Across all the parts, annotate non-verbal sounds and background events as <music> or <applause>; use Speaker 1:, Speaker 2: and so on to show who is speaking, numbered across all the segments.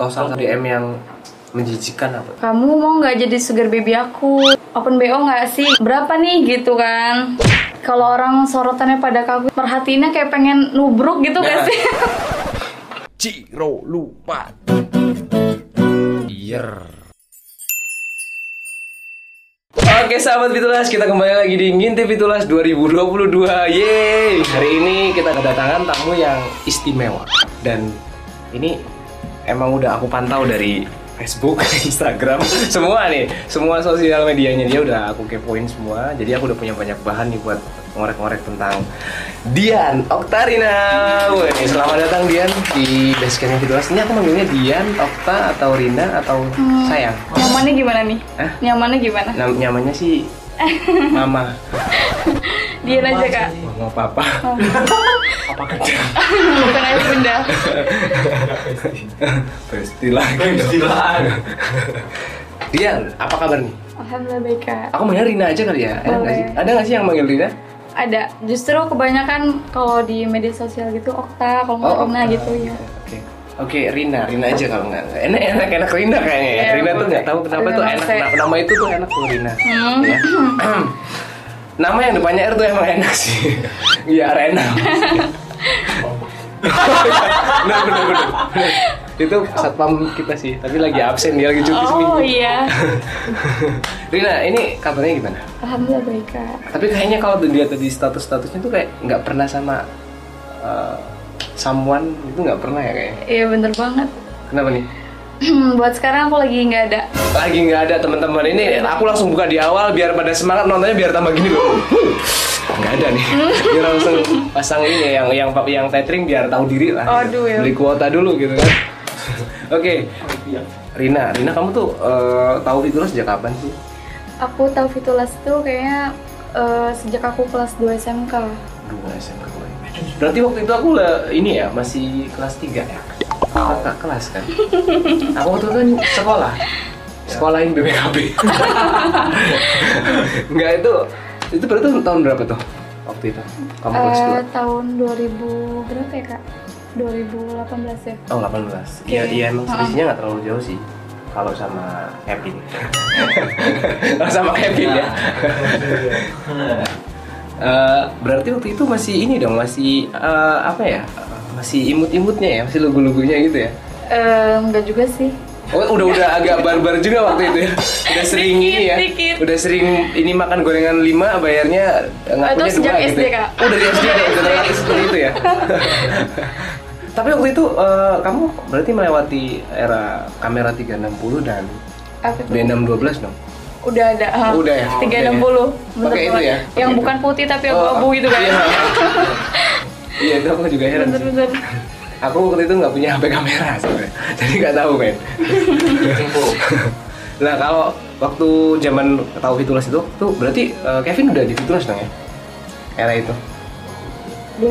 Speaker 1: Tosan DM yang menjijikan apa?
Speaker 2: Kamu mau nggak jadi sugar baby aku? Open BO nggak sih? Berapa nih gitu kan? Kalau orang sorotannya pada kaku, perhatiinnya kayak pengen nubruk gitu nggak
Speaker 1: Nah.
Speaker 2: sih? <laughs>
Speaker 1: Ciro lupa. Yer. Oke sahabat Fitulas, kita kembali lagi di Ngintip Fitulas 2022 Yeay, hari ini kita kedatangan tamu yang istimewa Dan ini emang udah aku pantau dari Facebook, <laughs> Instagram, semua nih Semua sosial medianya dia udah aku kepoin semua Jadi aku udah punya banyak bahan nih buat ngorek-ngorek tentang Dian Oktarina Wih, Selamat datang Dian di Basecampnya Fitulas Ini aku manggilnya Dian, Okta, atau Rina, atau Sayang
Speaker 2: Nyamannya gimana nih?
Speaker 1: Hah? Nah,
Speaker 2: Nyamannya gimana?
Speaker 1: Nam- Namanya sih Mama
Speaker 2: Dian aja kak.
Speaker 1: Mama papa. Apa kerja?
Speaker 2: <laughs> Bukan aja bunda.
Speaker 1: Besti lagi. Dian, apa kabar nih?
Speaker 2: Alhamdulillah baik kak.
Speaker 1: Aku manggil Rina aja kali ya. Ada nggak sih?
Speaker 2: Boleh.
Speaker 1: Ada nggak sih yang manggil Rina?
Speaker 2: Ada. Justru kebanyakan kalau di media sosial gitu Okta, kalau nggak
Speaker 1: Oh,
Speaker 2: Rina
Speaker 1: Okta.
Speaker 2: gitu ya.
Speaker 1: Oke. Oke, Rina, Rina aja kalau nggak enak enak enak Rina kayaknya ya.
Speaker 2: Iya,
Speaker 1: Rina tuh
Speaker 2: boleh.
Speaker 1: nggak tahu kenapa
Speaker 2: Rina
Speaker 1: tuh enak
Speaker 2: Mose.
Speaker 1: nama, nama itu tuh enak tuh Rina.
Speaker 2: Hmm. <clears throat>
Speaker 1: Ya. nama yang depannya R tuh emang enak sih. <laughs> Iya
Speaker 2: <laughs>
Speaker 1: Rena. benar benar benar. Itu satpam kita sih, tapi lagi absen dia lagi cuti seminggu.
Speaker 2: Oh
Speaker 1: <laughs>
Speaker 2: iya.
Speaker 1: Rina, ini kabarnya gimana?
Speaker 2: Alhamdulillah baik kak.
Speaker 1: Tapi kayaknya kalau dilihat tadi status-statusnya tuh kayak nggak pernah sama uh, someone itu nggak pernah ya kayaknya.
Speaker 2: Iya bener banget. <clears throat>
Speaker 1: Kenapa nih?
Speaker 2: Buat sekarang aku lagi nggak ada.
Speaker 1: Lagi nggak ada teman-teman ini, aku langsung buka di awal biar pada semangat nontonnya biar tambah gini loh. Huh, Nggak ada nih. Biar langsung pasang ini yang yang yang tethering biar tahu diri lah.
Speaker 2: Aduh, ya.
Speaker 1: Beli kuota dulu gitu kan. Oke. Rina, Rina kamu tuh uh, tahu itu sejak kapan sih?
Speaker 2: Aku tahu Fitulas itu kayaknya eh, sejak aku kelas 2 SMK.
Speaker 1: dua SMA gue. Berarti waktu itu aku lah ini ya masih kelas 3 ya. Kakak kelas kan. <laughs> Aku waktu itu kan sekolah. Sekolahin BPKB. Enggak itu itu berarti tahun berapa tuh waktu itu? Kamu kelas
Speaker 2: Eh,
Speaker 1: 2.
Speaker 2: tahun 2000 berapa ya kak? 2018 ya.
Speaker 1: Oh, 18. Iya,
Speaker 2: Oke.
Speaker 1: iya emang
Speaker 2: Ha-ha.
Speaker 1: selisihnya nggak terlalu jauh sih. Kalau sama Kevin. <laughs> Kalau sama Kevin ya. Eh, berarti waktu itu masih ini dong, masih eh, apa ya? Masih imut-imutnya ya, masih lugu-lugunya gitu ya.
Speaker 2: Eh, enggak juga sih.
Speaker 1: Oh, udah udah agak barbar juga waktu itu ya. Udah sering
Speaker 2: Dikit,
Speaker 1: ini ya.
Speaker 2: dikit.
Speaker 1: Udah sering ini makan gorengan 5 bayarnya eh, ngakunya
Speaker 2: Atau sejak
Speaker 1: dua gitu.
Speaker 2: SD,
Speaker 1: ya.
Speaker 2: Kak.
Speaker 1: Oh, dari SD udah udah terlatih seperti itu ya. <laughs> Tapi waktu itu eh, kamu berarti melewati era kamera 360 dan
Speaker 2: Apa itu?
Speaker 1: B612 dong.
Speaker 2: Udah ada. eh, ha.
Speaker 1: Udah ya?
Speaker 2: 360. Bener
Speaker 1: Pakai itu
Speaker 2: banget.
Speaker 1: ya? Pakai
Speaker 2: Yang
Speaker 1: itu.
Speaker 2: bukan putih tapi yang
Speaker 1: Oh,
Speaker 2: abu gitu kan.
Speaker 1: Iya. Iya, itu aku juga heran. sih.
Speaker 2: Bener-bener.
Speaker 1: Aku waktu itu nggak punya HP kamera sebenarnya, <laughs> jadi nggak tahu men. <laughs> nah kalau waktu zaman tahu Fitulas itu, tuh berarti eh, Kevin udah di Fitulas dong ya? Era itu.
Speaker 2: 2018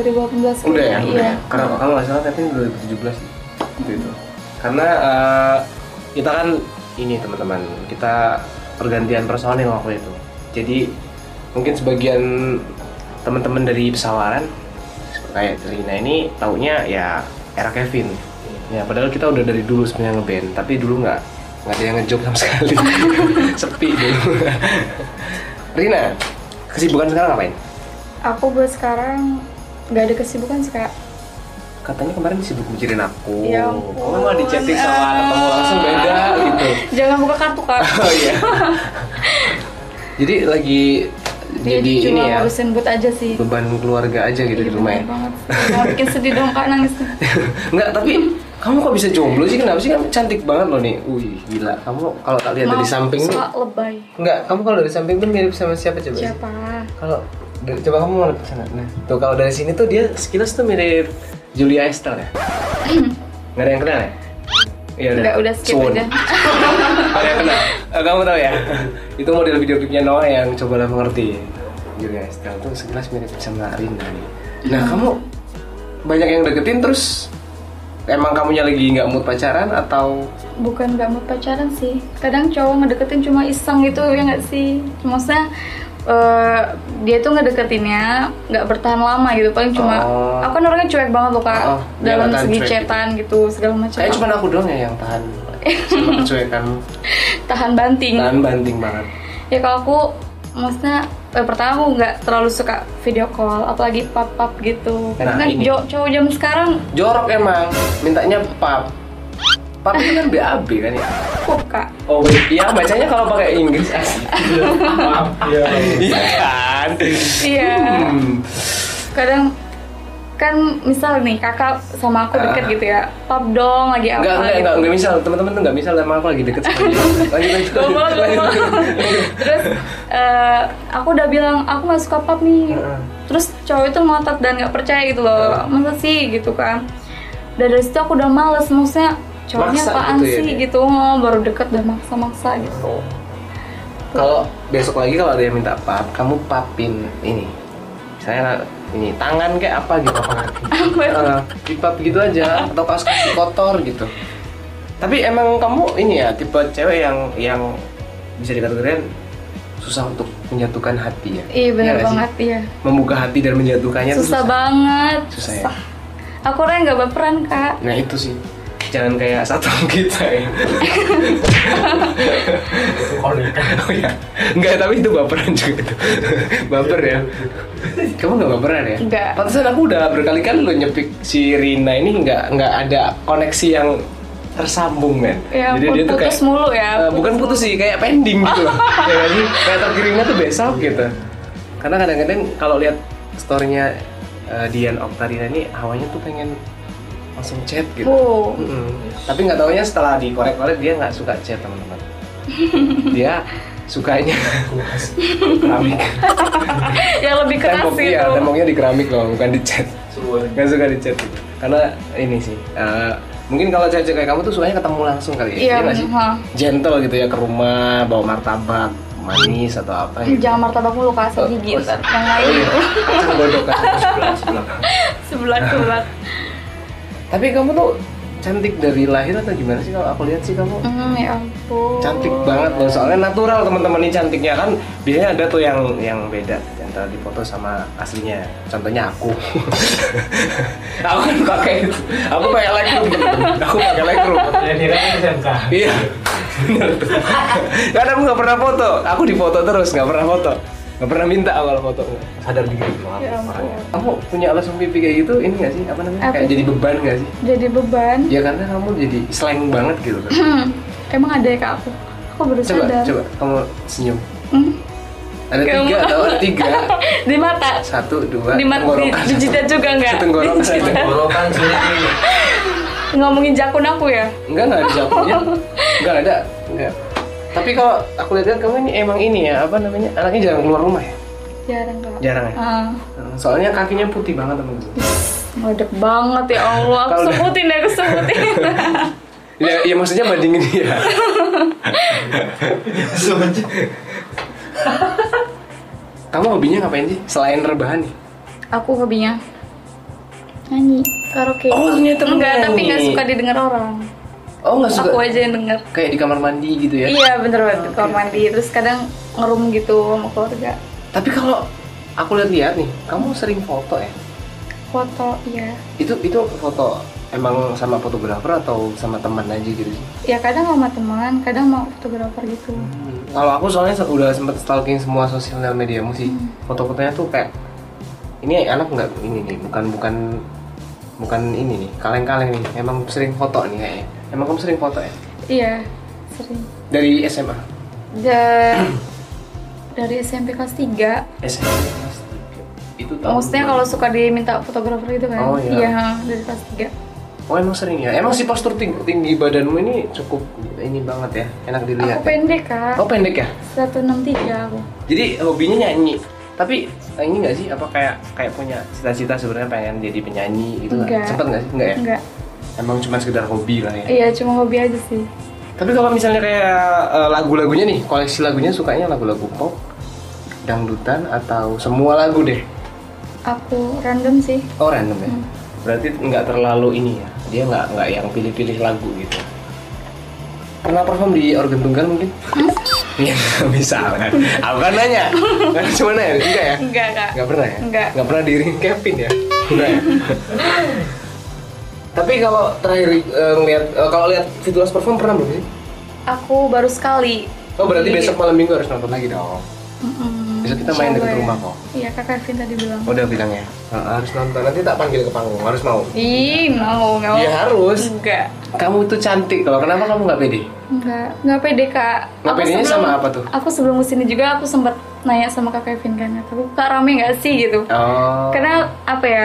Speaker 1: Udah ya?
Speaker 2: kayaknya,
Speaker 1: Udah.
Speaker 2: Iya.
Speaker 1: ya? Karena kalau nggak salah Kevin 2017 sih. Waktu itu. Karena eh, kita kan ini teman-teman, kita pergantian personil waktu itu. Jadi mungkin sebagian teman-teman dari pesawaran kayak Trina ini taunya ya era Kevin. Ya padahal kita udah dari dulu sebenarnya ngeband, tapi dulu nggak nggak ada yang ngejob sama sekali. <laughs> Sepi dulu. <laughs> Rina, kesibukan sekarang ngapain?
Speaker 2: Aku buat sekarang nggak ada kesibukan sih kak.
Speaker 1: katanya kemarin sibuk mikirin aku
Speaker 2: Ya ampun.
Speaker 1: kamu mah di chatting sama
Speaker 2: Ah.
Speaker 1: ketemu langsung beda gitu
Speaker 2: Jangan buka kartu kak.
Speaker 1: <laughs> oh
Speaker 2: <laughs>
Speaker 1: iya jadi lagi
Speaker 2: Dia
Speaker 1: jadi
Speaker 2: cuma
Speaker 1: ini ya
Speaker 2: ngurusin but aja sih.
Speaker 1: beban keluarga aja gitu di
Speaker 2: Iya,
Speaker 1: rumah ya
Speaker 2: bener banget. Jangan bikin sedih dong kak nangis.
Speaker 1: <laughs> nggak tapi kamu kok bisa jomblo sih kenapa sih kamu cantik banget loh nih wih gila kamu kalau tak lihat Iya, dari
Speaker 2: Maaf,
Speaker 1: samping tuh
Speaker 2: suka lebay. Iya,
Speaker 1: nggak kamu kalau dari samping tuh mirip sama siapa coba sih?
Speaker 2: Siapa?
Speaker 1: kalau dari- coba kamu mau ke sana nah tuh kalau dari sini tuh dia sekilas tuh mirip Julia Estelle
Speaker 2: <clears throat>
Speaker 1: ya nggak ada yang kenal ya Iya
Speaker 2: Enggak, udah skip
Speaker 1: Sun. <laughs>
Speaker 2: aja.
Speaker 1: Ada yang kena. Eh, kamu tahu ya? Itu model video klipnya Noah yang cobalah mengerti. Julia Estelle tuh sekilas mirip sama Rina nih. Nah, kamu banyak yang deketin terus emang kamunya lagi nggak mood pacaran atau
Speaker 2: Bukan gak mau pacaran sih. Kadang cowok ngedeketin cuma iseng gitu ya nggak sih? Maksudnya eh, dia tuh ngedeketinnya nggak bertahan lama gitu paling cuma
Speaker 1: Oh.
Speaker 2: aku kan orangnya cuek banget loh kak
Speaker 1: Oh, dia
Speaker 2: dalam
Speaker 1: nggak tahan
Speaker 2: segi
Speaker 1: cuek gitu.
Speaker 2: cetan gitu. segala macam
Speaker 1: Kayaknya cuma aku doang ya yang
Speaker 2: <laughs>
Speaker 1: tahan sama kecuekan
Speaker 2: tahan banting
Speaker 1: tahan banting banget.
Speaker 2: ya kalau aku maksudnya eh, pertama aku nggak terlalu suka video call apalagi pap pap gitu
Speaker 1: Nah,
Speaker 2: kan
Speaker 1: ini.
Speaker 2: jo- cowok jam sekarang
Speaker 1: Jorok emang, mintanya pap. Pap itu kan BAB kan ya?
Speaker 2: pup kak
Speaker 1: Oh wait, iya bacanya kalau pakai Inggris asli.
Speaker 3: Iya.
Speaker 1: Iya kan?
Speaker 2: iya
Speaker 1: Hmm.
Speaker 2: kadang kan misal nih kakak sama aku deket
Speaker 1: Ah.
Speaker 2: gitu ya pap dong lagi apa
Speaker 1: Enggak, enggak,
Speaker 2: gitu.
Speaker 1: enggak, enggak misal, teman-teman tuh enggak misal emang aku lagi deket sama dia. Lagi <laughs> lanjut.
Speaker 2: Gak mau, gak mau. Terus eh, aku udah bilang aku gak suka pap nih.
Speaker 1: Heeh.
Speaker 2: Terus cowok itu ngotot dan gak percaya gitu
Speaker 1: Ah.
Speaker 2: loh. Masa sih gitu kan. Dan dari situ aku udah males maksudnya cowoknya
Speaker 1: Maksa
Speaker 2: apaan
Speaker 1: gitu ya
Speaker 2: sih
Speaker 1: dia. Oh.
Speaker 2: gitu. Oh, baru deket udah maksa-maksa gitu.
Speaker 1: Kalau besok lagi kalau ada yang minta pap, kamu papin ini. Saya ini tangan kayak apa gitu apa lagi.
Speaker 2: Apa?
Speaker 1: Eh, dipap gitu aja atau kaos kaki kotor gitu. Tapi emang kamu ini ya tipe cewek yang yang bisa dikategorikan susah untuk menjatuhkan hati ya.
Speaker 2: Iya bener
Speaker 1: nggak sih?
Speaker 2: banget ya.
Speaker 1: Membuka hati dan menjatuhkannya tuh
Speaker 2: Susah banget.
Speaker 1: Susah ya?
Speaker 2: Aku orang yang gak baperan kak.
Speaker 1: Nah itu sih jangan kayak satpam <laughs> kita ya.
Speaker 3: Oh nikah.
Speaker 1: Oh ya, enggak tapi itu baperan juga itu. Baper ya. Kamu nggak baperan ya?
Speaker 2: Nggak.
Speaker 1: Pantesan aku udah berkali-kali lo nyepik si Rina ini nggak nggak ada koneksi yang tersambung men.
Speaker 2: Ya
Speaker 1: Jadi dia tuh kayak
Speaker 2: putus mulu ya.
Speaker 1: Eh, bukan putus sih kayak pending gitu loh. ya nggak sih? Kayak terkirimnya tuh besok gitu. Karena kadang-kadang kalau lihat storynya eh, Dian Oktarina ini hawanya tuh pengen langsung chat gitu.
Speaker 2: Oh.
Speaker 1: Mm-mm. Tapi nggak taunya setelah dikorek-korek dia nggak suka chat teman-teman. dia sukanya keramik.
Speaker 2: yang lebih keras
Speaker 1: Tembok
Speaker 2: gitu.
Speaker 1: iya, temboknya di keramik loh, bukan di chat.
Speaker 3: Suwon.
Speaker 1: Nggak suka di chat. gitu. Karena ini sih. eh, mungkin kalau cewek kayak kamu tuh sukanya ketemu langsung kali ya.
Speaker 2: Iya
Speaker 1: nggak sih?
Speaker 2: bener. ha.
Speaker 1: Gentle gitu ya ke rumah, bawa martabak manis atau apa gitu.
Speaker 2: Jangan martabak mulu kak, asal gigi ntar.
Speaker 1: Oh
Speaker 2: Yang lain
Speaker 1: iya, kacang godok kacang kan, sebelah, sebelah.
Speaker 2: <laughs> sebelah sebelah.
Speaker 1: Tapi kamu tuh cantik dari lahir atau gimana sih kalau aku lihat sih kamu
Speaker 2: Hmm, ya ampun.
Speaker 1: cantik banget loh soalnya natural teman-teman ini cantiknya kan biasanya ada tuh yang yang beda antara dipoto sama aslinya contohnya aku <laughs> aku kan pakai itu aku pakai Lightroom aku pakai Lightroom
Speaker 3: Ya Nira kan SMK.
Speaker 1: iya Bener tuh. karena aku nggak pernah foto aku difoto terus nggak pernah foto nggak pernah minta aku kalau foto
Speaker 3: Sadar diri maaf
Speaker 2: Ya ampun.
Speaker 3: orangnya.
Speaker 1: kamu punya alasan pipi kayak gitu ini nggak sih apa namanya
Speaker 2: Apa?
Speaker 1: kayak jadi beban nggak sih
Speaker 2: Jadi beban.
Speaker 1: ya karena kamu jadi slang banget gitu
Speaker 2: <clears throat>
Speaker 1: kan
Speaker 2: Hmm, emang ada ya kak aku? Aku baru
Speaker 1: coba
Speaker 2: sadar.
Speaker 1: coba kamu senyum
Speaker 2: Hmm,
Speaker 1: ada
Speaker 2: Kamu-
Speaker 1: tiga tau ada tiga
Speaker 2: <laughs> di mata.
Speaker 1: satu dua
Speaker 2: Di mata di,
Speaker 1: tenggorokan
Speaker 2: di
Speaker 1: satu.
Speaker 2: jidat juga enggak?
Speaker 1: Tenggorokan.
Speaker 3: Tenggorokan sini.
Speaker 2: Ngomongin jakun aku ya?
Speaker 1: enggak enggak ada jawabnya enggak ada enggak tapi kalau aku lihat kamu ini emang ini ya apa namanya anaknya jarang keluar rumah ya
Speaker 2: Jarang kak.
Speaker 1: jarang ya
Speaker 2: Ah,
Speaker 1: soalnya kakinya putih banget temen teman
Speaker 2: ngadep banget ya Allah. Aku
Speaker 1: Kalau udah-
Speaker 2: sebutin deh, aku
Speaker 1: <laughs>
Speaker 2: sebutin.
Speaker 1: ya, ya maksudnya bandingin dia kamu hobinya ngapain sih selain rebahan nih
Speaker 2: aku hobinya nyanyi karaoke.
Speaker 1: Oh, ternyata lu
Speaker 2: Enggak, tapi
Speaker 1: nyanyi.
Speaker 2: enggak suka didengar orang.
Speaker 1: oh nggak suka
Speaker 2: Aku aja yang denger.
Speaker 1: kayak di kamar mandi gitu ya
Speaker 2: Iya bener banget di kamar mandi terus kadang ngerum gitu sama keluarga
Speaker 1: tapi kalau aku lihat-lihat nih kamu sering foto ya
Speaker 2: foto ya
Speaker 1: itu itu foto emang sama fotografer atau sama teman aja gitu sih?
Speaker 2: ya kadang sama teman kadang mau fotografer gitu
Speaker 1: Hmm. Kalau aku soalnya se- udah sempet stalking semua sosial media sih.
Speaker 2: Hmm.
Speaker 1: Foto-fotonya tuh kayak ini anak nggak ini nih, bukan bukan bukan ini nih, kaleng-kaleng nih. Emang sering foto nih kayaknya. Emang kamu sering foto ya?
Speaker 2: iya sering
Speaker 1: Dari SMA. <clears throat>
Speaker 2: Da- dari SMP kelas 3
Speaker 1: SMA kelas tiga. Itu tahun.
Speaker 2: maksudnya kalau suka diminta fotografer gitu
Speaker 1: iya. Oh,
Speaker 2: kan
Speaker 1: iya.
Speaker 2: dari kelas 3
Speaker 1: Oh emang sering ya? Emang si postur ting- tinggi badanmu ini cukup ini banget ya, enak dilihat.
Speaker 2: aku pendek kak
Speaker 1: Oh pendek ya?
Speaker 2: 163 aku
Speaker 1: Jadi hobinya nyanyi. Tapi nyanyi nggak sih? Apa kayak kayak punya cita-cita sebenarnya pengen jadi penyanyi gitu? nggak?
Speaker 2: Nggak.
Speaker 1: Sempet nggak sih? Nggak ya?
Speaker 2: enggak
Speaker 1: Emang cuma sekedar hobi lah ya.
Speaker 2: iya cuma hobi aja sih
Speaker 1: Tapi kalau misalnya kayak eh, lagu-lagunya nih, koleksi lagunya sukanya lagu-lagu pop, dangdutan atau semua lagu deh.
Speaker 2: aku random sih
Speaker 1: Oh random ya. Berarti nggak terlalu ini ya. Dia nggak nggak yang pilih-pilih lagu gitu. Pernah perform di organ tunggal mungkin? <laughs> Iya, misalkan. Aku kan nanya. <laughs> Kan cuma nanya, enggak ya?
Speaker 2: Enggak, Kak.
Speaker 1: Enggak pernah ya?
Speaker 2: Enggak.
Speaker 1: Enggak pernah diri Kevin ya? Enggak ya? Tapi kalau terakhir eh, ngeliat, eh, kalau lihat Fitulas perform pernah belum sih?
Speaker 2: Aku baru sekali.
Speaker 1: Oh berarti
Speaker 2: Iya.
Speaker 1: besok malam minggu harus nonton lagi dong.
Speaker 2: Mm-mm.
Speaker 1: Besok kita main
Speaker 2: Coba
Speaker 1: deket
Speaker 2: ya.
Speaker 1: rumah kok.
Speaker 2: Iya, Kak Kevin tadi bilang.
Speaker 1: Udah bilang ya. Nah, harus nonton nanti tak panggil ke panggung harus mau.
Speaker 2: Ih, no, enggak
Speaker 1: Iya harus.
Speaker 2: Enggak.
Speaker 1: Kamu itu cantik kalau kenapa kamu nggak pede?
Speaker 2: Enggak, enggak pede kak
Speaker 1: Nggak
Speaker 2: Aku
Speaker 1: pedenya
Speaker 2: sebelum-
Speaker 1: sama apa tuh?
Speaker 2: Aku sebelum kesini juga aku sempat nanya sama kak Kevin kan Aku kak rame gak sih gitu
Speaker 1: Oh.
Speaker 2: Karena apa ya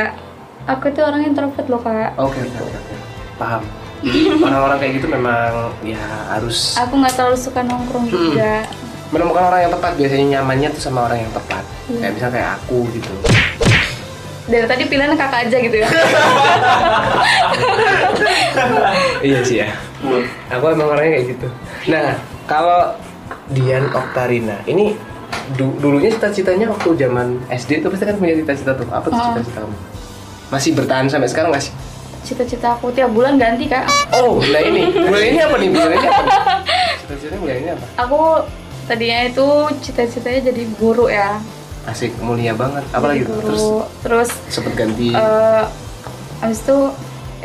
Speaker 2: Aku itu orang introvert loh kak
Speaker 1: Oke oke oke. oke. Paham. Jadi orang-orang kayak gitu memang ya harus
Speaker 2: Aku gak terlalu suka
Speaker 1: Hmm.
Speaker 2: nongkrong juga
Speaker 1: menemukan orang yang tepat biasanya nyamannya tuh sama orang yang tepat. Kayak misalnya kayak aku gitu.
Speaker 2: Dari tadi pilihan kakak aja
Speaker 1: <laughs>
Speaker 2: gitu ya
Speaker 1: iya sih ya. Aku emang orangnya kayak gitu. Nah kalau Dian Oktarina ini du- dulunya cita-citanya waktu zaman SD tuh pasti kan punya cita-cita tuh apa tuh
Speaker 2: Oh.
Speaker 1: cita-cita kamu? Masih bertahan sampai sekarang nggak sih?
Speaker 2: Cita-cita aku tiap bulan ganti kak
Speaker 1: Oh, nah ini. Bulan ini apa nih? Bulan ini apa nih? Cita-citanya bulan ini apa?
Speaker 2: Aku tadinya itu cita-citanya jadi guru ya
Speaker 1: Asik, mulia banget. Apalagi tuh? Terus
Speaker 2: Guru Terus
Speaker 1: sempet ganti.
Speaker 2: eh abis itu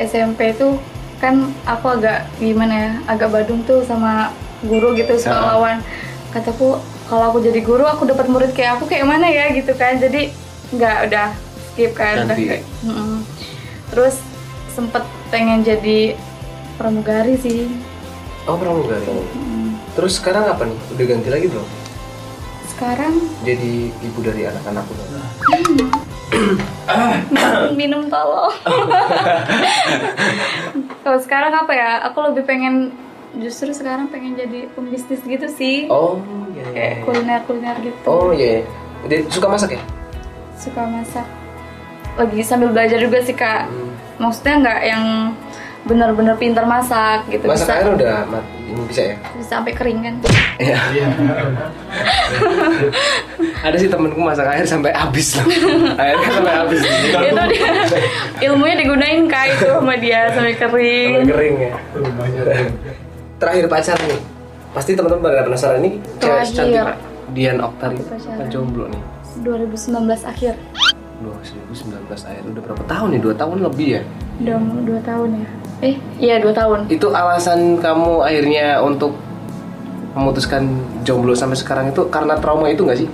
Speaker 2: SMP tuh kan aku agak gimana ya agak badung tuh sama guru gitu suka
Speaker 1: Ah.
Speaker 2: lawan kataku kalau aku jadi guru aku dapat murid kayak aku kayak mana ya gitu kan jadi nggak udah skip kan udah
Speaker 1: Ganti.
Speaker 2: kayak- Mm-mm. terus sempet pengen jadi pramugari sih
Speaker 1: oh, pramugari. Terus sekarang apa nih? Udah ganti lagi belum?
Speaker 2: sekarang
Speaker 1: <coughs> Jadi ibu dari anak-anakku.
Speaker 2: minum tolong kalau sekarang apa ya aku lebih pengen justru sekarang pengen jadi pembisnis gitu sih
Speaker 1: Oh, iya. iya,
Speaker 2: kayak
Speaker 1: iya.
Speaker 2: kuliner-kuliner gitu
Speaker 1: Oh, iya. iya. Dia suka masak ya?
Speaker 2: suka masak lagi sambil belajar juga sih kak
Speaker 1: Hmm.
Speaker 2: maksudnya nggak yang benar-benar pintar masak gitu
Speaker 1: Masak
Speaker 2: bisa
Speaker 1: air udah mat- ini bisa ya?
Speaker 2: bisa sampai kering kan
Speaker 1: Iya. Ada sih temenku masak air sampai habis <laughs> loh. Airnya sampai habis.
Speaker 2: itu dia <laughs> ilmunya digunain kak itu sama dia
Speaker 1: <laughs>
Speaker 2: sampai kering
Speaker 1: Sampai kering ya. terakhir pacar nih pasti teman-teman pada penasaran nih cewek
Speaker 2: Terakhir.
Speaker 1: secantik Dian Oktari
Speaker 2: Terakhir pacaran.
Speaker 1: kan jomblo nih
Speaker 2: 2019 akhir
Speaker 1: 2019 akhir udah berapa tahun nih dua tahun lebih ya
Speaker 2: udah mau dua tahun ya eh iya dua tahun
Speaker 1: itu alasan kamu akhirnya untuk memutuskan jomblo sampai sekarang itu karena trauma itu nggak sih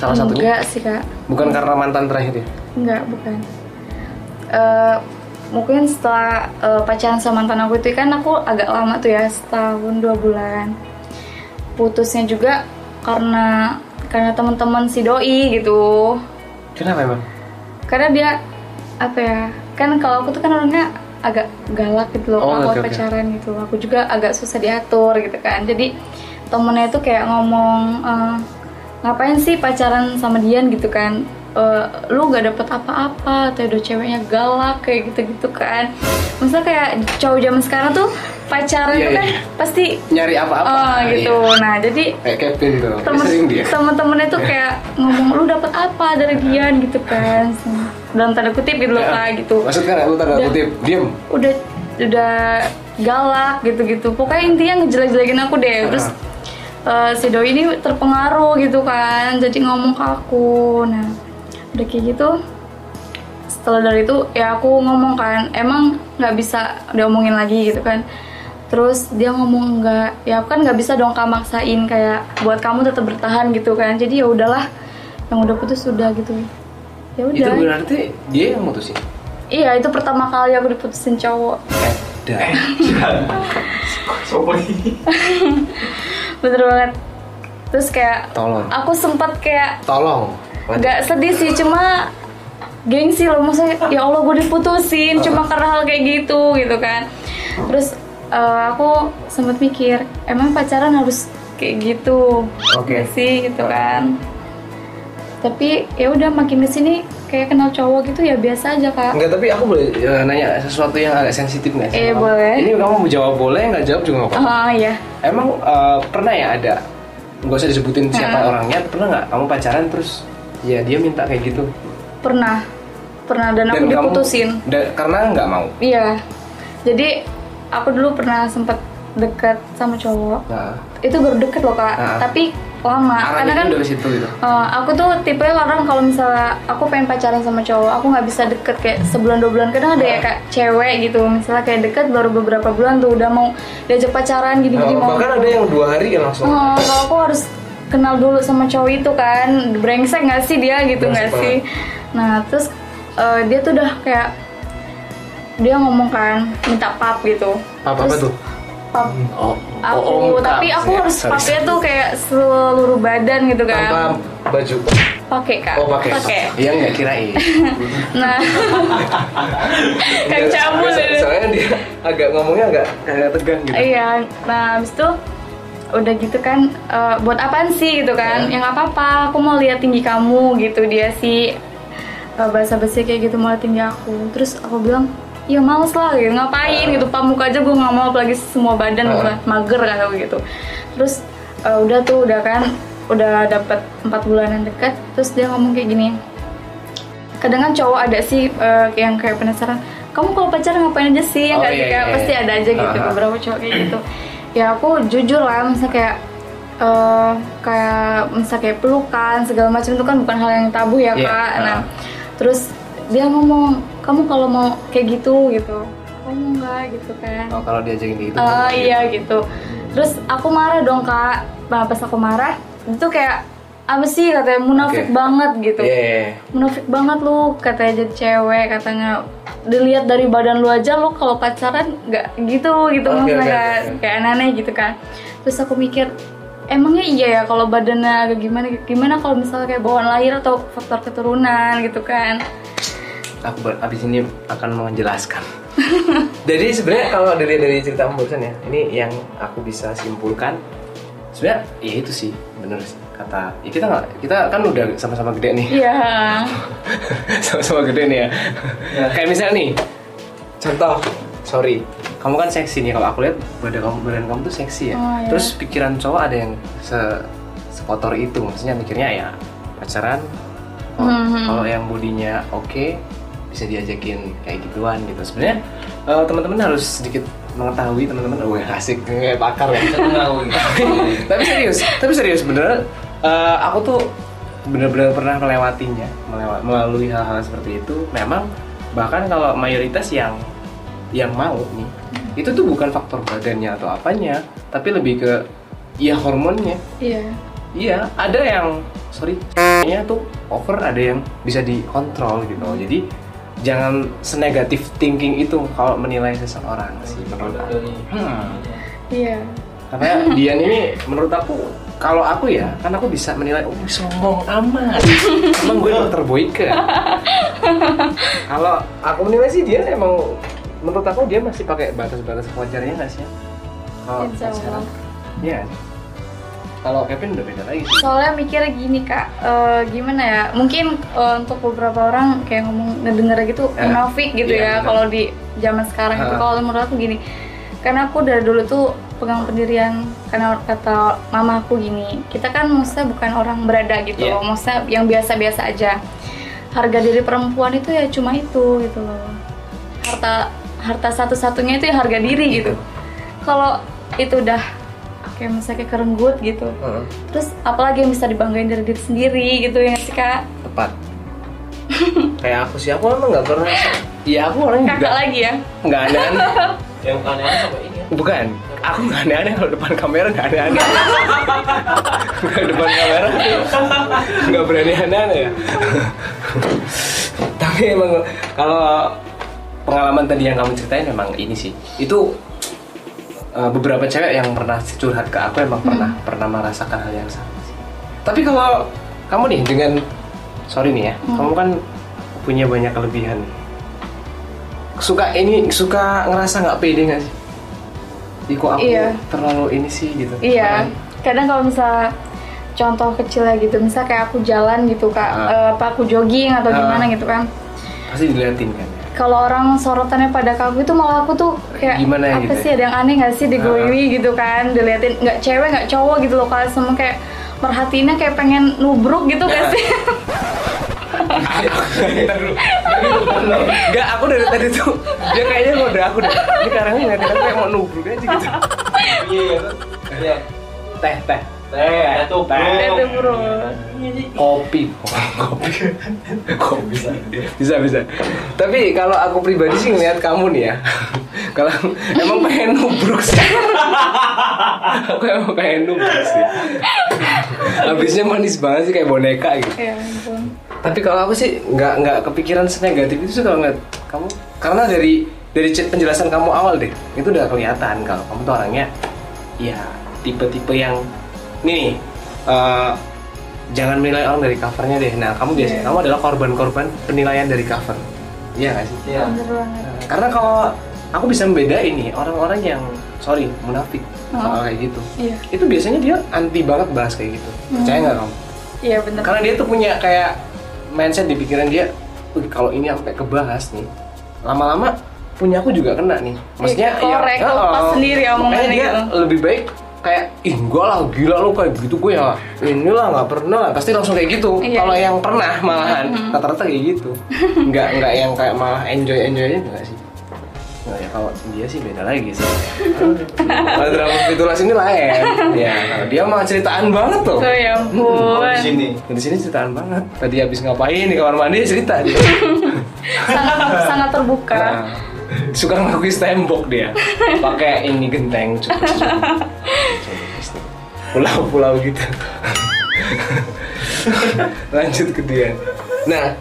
Speaker 1: salah satunya
Speaker 2: enggak sih kak
Speaker 1: bukan karena mantan terakhir ya
Speaker 2: Enggak, bukan. Eh, mungkin setelah eh, pacaran sama mantan aku itu kan aku agak lama tuh ya, setahun dua bulan. Putusnya juga karena karena teman-teman si doi gitu.
Speaker 1: kenapa emang
Speaker 2: Karena dia apa ya? Kan kalau aku tuh kan orangnya agak galak gitu loh
Speaker 1: Oh,
Speaker 2: kalau
Speaker 1: oke, oke.
Speaker 2: pacaran gitu. Aku juga agak susah diatur gitu kan. Jadi temennya itu kayak ngomong eh, ngapain sih pacaran sama Dian gitu kan Eh, lu gak dapet apa-apa atau udah ceweknya galak kayak gitu-gitu kan maksudnya kayak cowok zaman sekarang tuh pacaran
Speaker 1: Iya,
Speaker 2: tuh
Speaker 1: iya.
Speaker 2: kan pasti
Speaker 1: nyari apa-apa
Speaker 2: eh, gitu
Speaker 1: Iya.
Speaker 2: nah jadi
Speaker 1: kayak Kevin tuh
Speaker 2: temen
Speaker 1: Iya, sering dia
Speaker 2: temen-temennya tuh kayak ngomong lu dapet apa dari Dian gitu kan dalam tanda kutip gitu loh
Speaker 1: Iya.
Speaker 2: Kak, gitu
Speaker 1: maksudnya kan lu tanda
Speaker 2: Udah.
Speaker 1: kutip diem
Speaker 2: udah udah galak gitu-gitu pokoknya intinya ngejelek-jelekin aku deh terus eh, si doi ini terpengaruh gitu kan jadi ngomong ke aku nah udah kayak gitu setelah dari itu ya aku ngomong kan emang nggak bisa diomongin lagi gitu kan terus dia ngomong nggak ya aku kan nggak bisa dong kak maksain kayak buat kamu tetap bertahan gitu kan jadi ya udahlah yang udah putus sudah gitu ya
Speaker 1: itu
Speaker 2: udah
Speaker 1: berarti dia yang mutusin
Speaker 2: iya itu pertama kali aku diputusin cowok
Speaker 1: Eh, Dah.
Speaker 3: Sopo ini.
Speaker 2: bener banget terus kayak
Speaker 1: tolong
Speaker 2: aku sempat kayak
Speaker 1: tolong
Speaker 2: nggak sedih sih cuma gengsi loh maksudnya ya allah gue diputusin cuma karena hal kayak gitu gitu kan terus eh, aku sempat mikir emang pacaran harus kayak gitu
Speaker 1: Oke.
Speaker 2: Nggak sih gitu kan tapi ya udah makin kesini kayak kenal cowok gitu ya biasa aja kak
Speaker 1: Enggak, tapi aku boleh eh, nanya sesuatu yang agak sensitif nggak sih?
Speaker 2: Eh,
Speaker 1: Kamu-
Speaker 2: boleh.
Speaker 1: Ini kamu mau jawab boleh, nggak jawab juga nggak apa-apa.
Speaker 2: oh iya
Speaker 1: Emang eh, pernah ya ada, nggak usah disebutin siapa
Speaker 2: Hmm.
Speaker 1: orangnya, pernah nggak kamu pacaran terus ya dia minta kayak gitu?
Speaker 2: pernah pernah dan aku
Speaker 1: kamu-
Speaker 2: diputusin
Speaker 1: dan- karena nggak mau.
Speaker 2: Iya. Jadi aku dulu pernah sempet deket sama cowok
Speaker 1: Nah,
Speaker 2: itu baru deket loh kak
Speaker 1: Ah.
Speaker 2: tapi lama karena
Speaker 1: arahnya
Speaker 2: kan
Speaker 1: udah ke situ gitu.
Speaker 2: eh, aku tuh tipe orang kalau misalnya aku pengen pacaran sama cowok aku nggak bisa deket kayak sebulan dua bulan kadang ada
Speaker 1: Ah.
Speaker 2: ya kak cewek gitu misalnya kayak deket baru beberapa bulan tuh udah mau diajak pacaran gini-gini
Speaker 1: Nah,
Speaker 2: mau
Speaker 1: bahkan ada yang dua hari kan langsung.
Speaker 2: Oh, kalau aku harus kenal dulu sama cowok itu kan brengsek nggak sih dia gitu nggak
Speaker 1: Brengsek
Speaker 2: sih nah terus eh, dia tuh udah kayak dia ngomong kan minta pap gitu
Speaker 1: Apa apa
Speaker 2: Terus
Speaker 1: tuh?
Speaker 2: pap
Speaker 1: Oh,
Speaker 2: aku
Speaker 1: om
Speaker 2: tapi
Speaker 1: Kak.
Speaker 2: aku
Speaker 1: Ya,
Speaker 2: harus
Speaker 1: sorry.
Speaker 2: papnya tuh kayak seluruh badan gitu
Speaker 1: tanpa
Speaker 2: kan
Speaker 1: baju.
Speaker 2: pakai kak
Speaker 1: Oh pakai. <laughs> Iya nggak kirain.
Speaker 2: nah <laughs> kan
Speaker 1: Iya,
Speaker 2: cabul
Speaker 1: soalnya-
Speaker 2: gitu.
Speaker 1: Soalnya dia agak ngomongnya agak agak tegang gitu.
Speaker 2: Iya, nah habis itu udah gitu kan eh, buat apaan sih gitu kan?
Speaker 1: Iya.
Speaker 2: Ya nggak apa-apa, aku mau lihat tinggi kamu gitu dia sih bahasa basi kayak gitu mau lihat tinggi aku. Terus aku bilang, ya males lah gitu ngapain
Speaker 1: Iya.
Speaker 2: gitu pamuk aja gue nggak mau apalagi semua badan gue
Speaker 1: Ah.
Speaker 2: mager kan aku gitu. Terus eh, udah tuh udah kan udah dapet empat bulanan dekat terus dia ngomong kayak gini kadang kan cowok ada sih eh, yang kayak penasaran kamu kalau pacaran ngapain aja sih yang
Speaker 1: Oh,
Speaker 2: nggak sih?
Speaker 1: iya,
Speaker 2: Kayak
Speaker 1: iya,
Speaker 2: pasti
Speaker 1: iya.
Speaker 2: ada aja gitu
Speaker 1: Ah.
Speaker 2: beberapa cowok kayak gitu ya aku jujur lah misalnya kayak eh, kayak misalnya kayak pelukan segala macam itu kan bukan hal yang tabu ya
Speaker 1: Iya,
Speaker 2: kak
Speaker 1: ah.
Speaker 2: nah terus dia ngomong kamu kalau mau kayak gitu gitu kamu nggak gitu kan
Speaker 1: Oh kalau diajakin gitu.
Speaker 2: Oh iya gitu. Terus aku marah dong kak. Nah, pas aku marah, itu kayak apa sih katanya munafik
Speaker 1: Oke.
Speaker 2: banget gitu.
Speaker 1: Iya.
Speaker 2: Munafik banget lu katanya jadi cewek katanya dilihat dari badan lu aja lu kalau pacaran nggak gitu gitu
Speaker 1: Oke,
Speaker 2: maksudnya
Speaker 1: oke,
Speaker 2: kayak-
Speaker 1: oke.
Speaker 2: kayak aneh-aneh gitu kan. Terus aku mikir emangnya iya ya kalau badannya agak gimana gimana kalau misalnya kayak bawaan lahir atau faktor keturunan gitu kan.
Speaker 1: Aku ber- abis ini akan
Speaker 2: <laughs>
Speaker 1: menjelaskan. Jadi sebenarnya kalau dari dari cerita kamu barusan ya, ini yang aku bisa simpulkan sebenarnya ya itu sih bener sih kata ya kita nggak kita kan udah sama-sama gede nih
Speaker 2: Iya.
Speaker 1: <laughs> sama-sama gede nih ya. Kayak misalnya nih, contoh, sorry, kamu kan seksi nih kalau aku lihat badan kamu badan kamu tuh seksi ya.
Speaker 2: Oh, iya.
Speaker 1: Terus pikiran cowok ada yang se sekotor itu, maksudnya mikirnya ya pacaran. oh,
Speaker 2: Mhm.
Speaker 1: Kalau yang bodinya oke, bisa diajakin kayak gituan gitu. Sebenarnya eh, teman-teman harus sedikit mengetahui teman-teman, wah asik kayak pakar ya <laughs> tapi serius tapi serius bener eh, aku tuh bener-bener pernah melewatinya melewa- melalui hal-hal seperti itu memang bahkan kalau mayoritas yang yang mau nih itu tuh bukan faktor badannya atau apanya tapi lebih ke ya hormonnya
Speaker 2: Iya.
Speaker 1: Iya, ada yang sorry nya tuh over, ada yang bisa dikontrol gitu. Jadi jangan senegatif thinking itu kalau menilai seseorang sih menurut aku. Hmm.
Speaker 2: Iya.
Speaker 1: Karena
Speaker 2: <laughs>
Speaker 1: Dian ini menurut aku kalau aku ya, kan aku bisa menilai, oh sombong amat, emang gue dokter
Speaker 2: <laughs>
Speaker 1: Boyke. kalau aku menilai sih Dian emang menurut aku dia masih pakai batas-batas wajarnya nggak sih? Kalau
Speaker 2: Insya Allah.
Speaker 1: pacaran. Iya. Kalau Kevin udah beda lagi sih.
Speaker 2: soalnya mikirnya gini kak eh, gimana ya mungkin eh, untuk beberapa orang kayak ngomong ngedenger gitu
Speaker 1: Eh,
Speaker 2: munafik gitu
Speaker 1: iya,
Speaker 2: ya
Speaker 1: benar.
Speaker 2: kalau di zaman sekarang itu
Speaker 1: Ah.
Speaker 2: kalau menurut aku gini karena aku dari dulu tuh pegang pendirian karena kata mama aku gini kita kan maksudnya bukan orang berada gitu
Speaker 1: Iya.
Speaker 2: loh maksudnya yang biasa-biasa aja harga diri perempuan itu ya cuma itu gitu loh harta harta satu-satunya itu ya harga diri gitu
Speaker 1: Iya.
Speaker 2: kalau itu udah kayak misalnya kayak kerenggut gitu
Speaker 1: Heeh.
Speaker 2: Terus apalagi yang bisa dibanggain dari diri sendiri gitu ya nggak sih kak?
Speaker 1: tepat kayak aku sih aku emang nggak pernah ya aku orang
Speaker 2: Kakak
Speaker 1: juga
Speaker 2: lagi ya?
Speaker 1: nggak aneh-aneh
Speaker 3: Yang aneh sama ini ya.
Speaker 1: bukan aku nggak aneh-aneh kalau depan kamera nggak aneh-aneh Kalau depan kamera nggak berani aneh-aneh ya tapi emang kalau pengalaman tadi yang kamu ceritain memang ini sih itu eh, beberapa cewek yang pernah curhat ke aku emang pernah
Speaker 2: Hmm.
Speaker 1: pernah merasakan hal yang sama sih. Tapi kalau kamu nih dengan sorry nih ya,
Speaker 2: Hmm.
Speaker 1: kamu kan punya banyak kelebihan. Suka ini suka ngerasa nggak pede nggak sih? Ih, kok aku
Speaker 2: Iya.
Speaker 1: terlalu ini sih gitu.
Speaker 2: Iya. Kadang kalau misalnya contoh kecil ya gitu, misal kayak aku jalan gitu kak,
Speaker 1: Ah.
Speaker 2: eh, apa aku jogging atau
Speaker 1: Ah.
Speaker 2: gimana gitu kan?
Speaker 1: Pasti diliatin kan. ya?
Speaker 2: Kalau orang sorotannya pada ke aku itu malah aku tuh kayak
Speaker 1: Gimana ya
Speaker 2: apa
Speaker 1: gitu ya?
Speaker 2: sih ada yang aneh nggak sih digoyowi gitu kan, diliatin nggak cewek nggak cowok gitu loh kalau semua kayak merhatiinnya kayak pengen nubruk gitu gak <laughs> sih?
Speaker 1: Enggak, aku dari tadi tuh dia kayaknya ngode aku deh. Ini karangnya ngeliatin aku kayak mau nubruk aja gitu.
Speaker 3: Iya. Iya.
Speaker 1: Teh, teh.
Speaker 3: Teh, ada tuh.
Speaker 2: Lihat tuh, bro.
Speaker 1: Kopi. Kopi. Kopi bisa. Bisa, bisa. Tapi kalau aku pribadi sih ngeliat kamu nih ya. Kalau emang pengen nubruk sih. aku emang pengen nubruk sih. Habisnya manis banget sih kayak boneka gitu.
Speaker 2: Ya ampun.
Speaker 1: Tapi kalau aku sih nggak nggak kepikiran senegatif itu sih kalau ngeliat kamu karena dari dari ce- penjelasan kamu awal deh itu udah kelihatan kalau kamu tuh orangnya ya tipe-tipe yang nih nih, eh, jangan menilai orang dari covernya deh. Nah kamu
Speaker 2: Iya.
Speaker 1: biasanya kamu adalah korban-korban penilaian dari cover, iya nggak sih?
Speaker 3: Iya.
Speaker 2: Bener banget.
Speaker 1: Karena kalau aku bisa membedain nih orang-orang yang sorry munafik
Speaker 2: Oh.
Speaker 1: soal kayak gitu
Speaker 2: Iya. Hmm.
Speaker 1: itu biasanya dia anti banget bahas kayak gitu percaya nggak kamu?
Speaker 2: Iya bener.
Speaker 1: karena dia tuh punya kayak mindset di pikiran dia "Wih, kalau ini sampai kebahas nih lama-lama punya aku juga kena nih maksudnya ya,
Speaker 2: Iya, korek, lepas sendiri
Speaker 1: makanya
Speaker 2: omongannya
Speaker 1: dia
Speaker 2: gitu.
Speaker 1: lebih baik kayak ih enggak lah gila lo kayak gitu gue ya ini lah nggak pernah lah pasti langsung kayak gitu
Speaker 2: Iya,
Speaker 1: kalau
Speaker 2: iya.
Speaker 1: yang pernah malahan rata-rata kayak gitu nggak nggak yang kayak malah enjoy enjoynya nggak sih Nah, ya kalau dia sih beda lagi
Speaker 2: <laughs>
Speaker 1: sih. kalau drama fitulas ini lain. Ya, kalau dia mah ceritaan banget tuh.
Speaker 2: <laughs> Tuh ya
Speaker 3: Di
Speaker 2: ampun.
Speaker 3: sini.
Speaker 1: Di sini ceritaan banget. Tadi habis ngapain di kamar mandi cerita dia.
Speaker 2: sangat sangat terbuka.
Speaker 1: Nah, suka ngakui tembok dia. Pakai ini genteng cukup. Pulau-pulau gitu. Lanjut ke dia. Nah,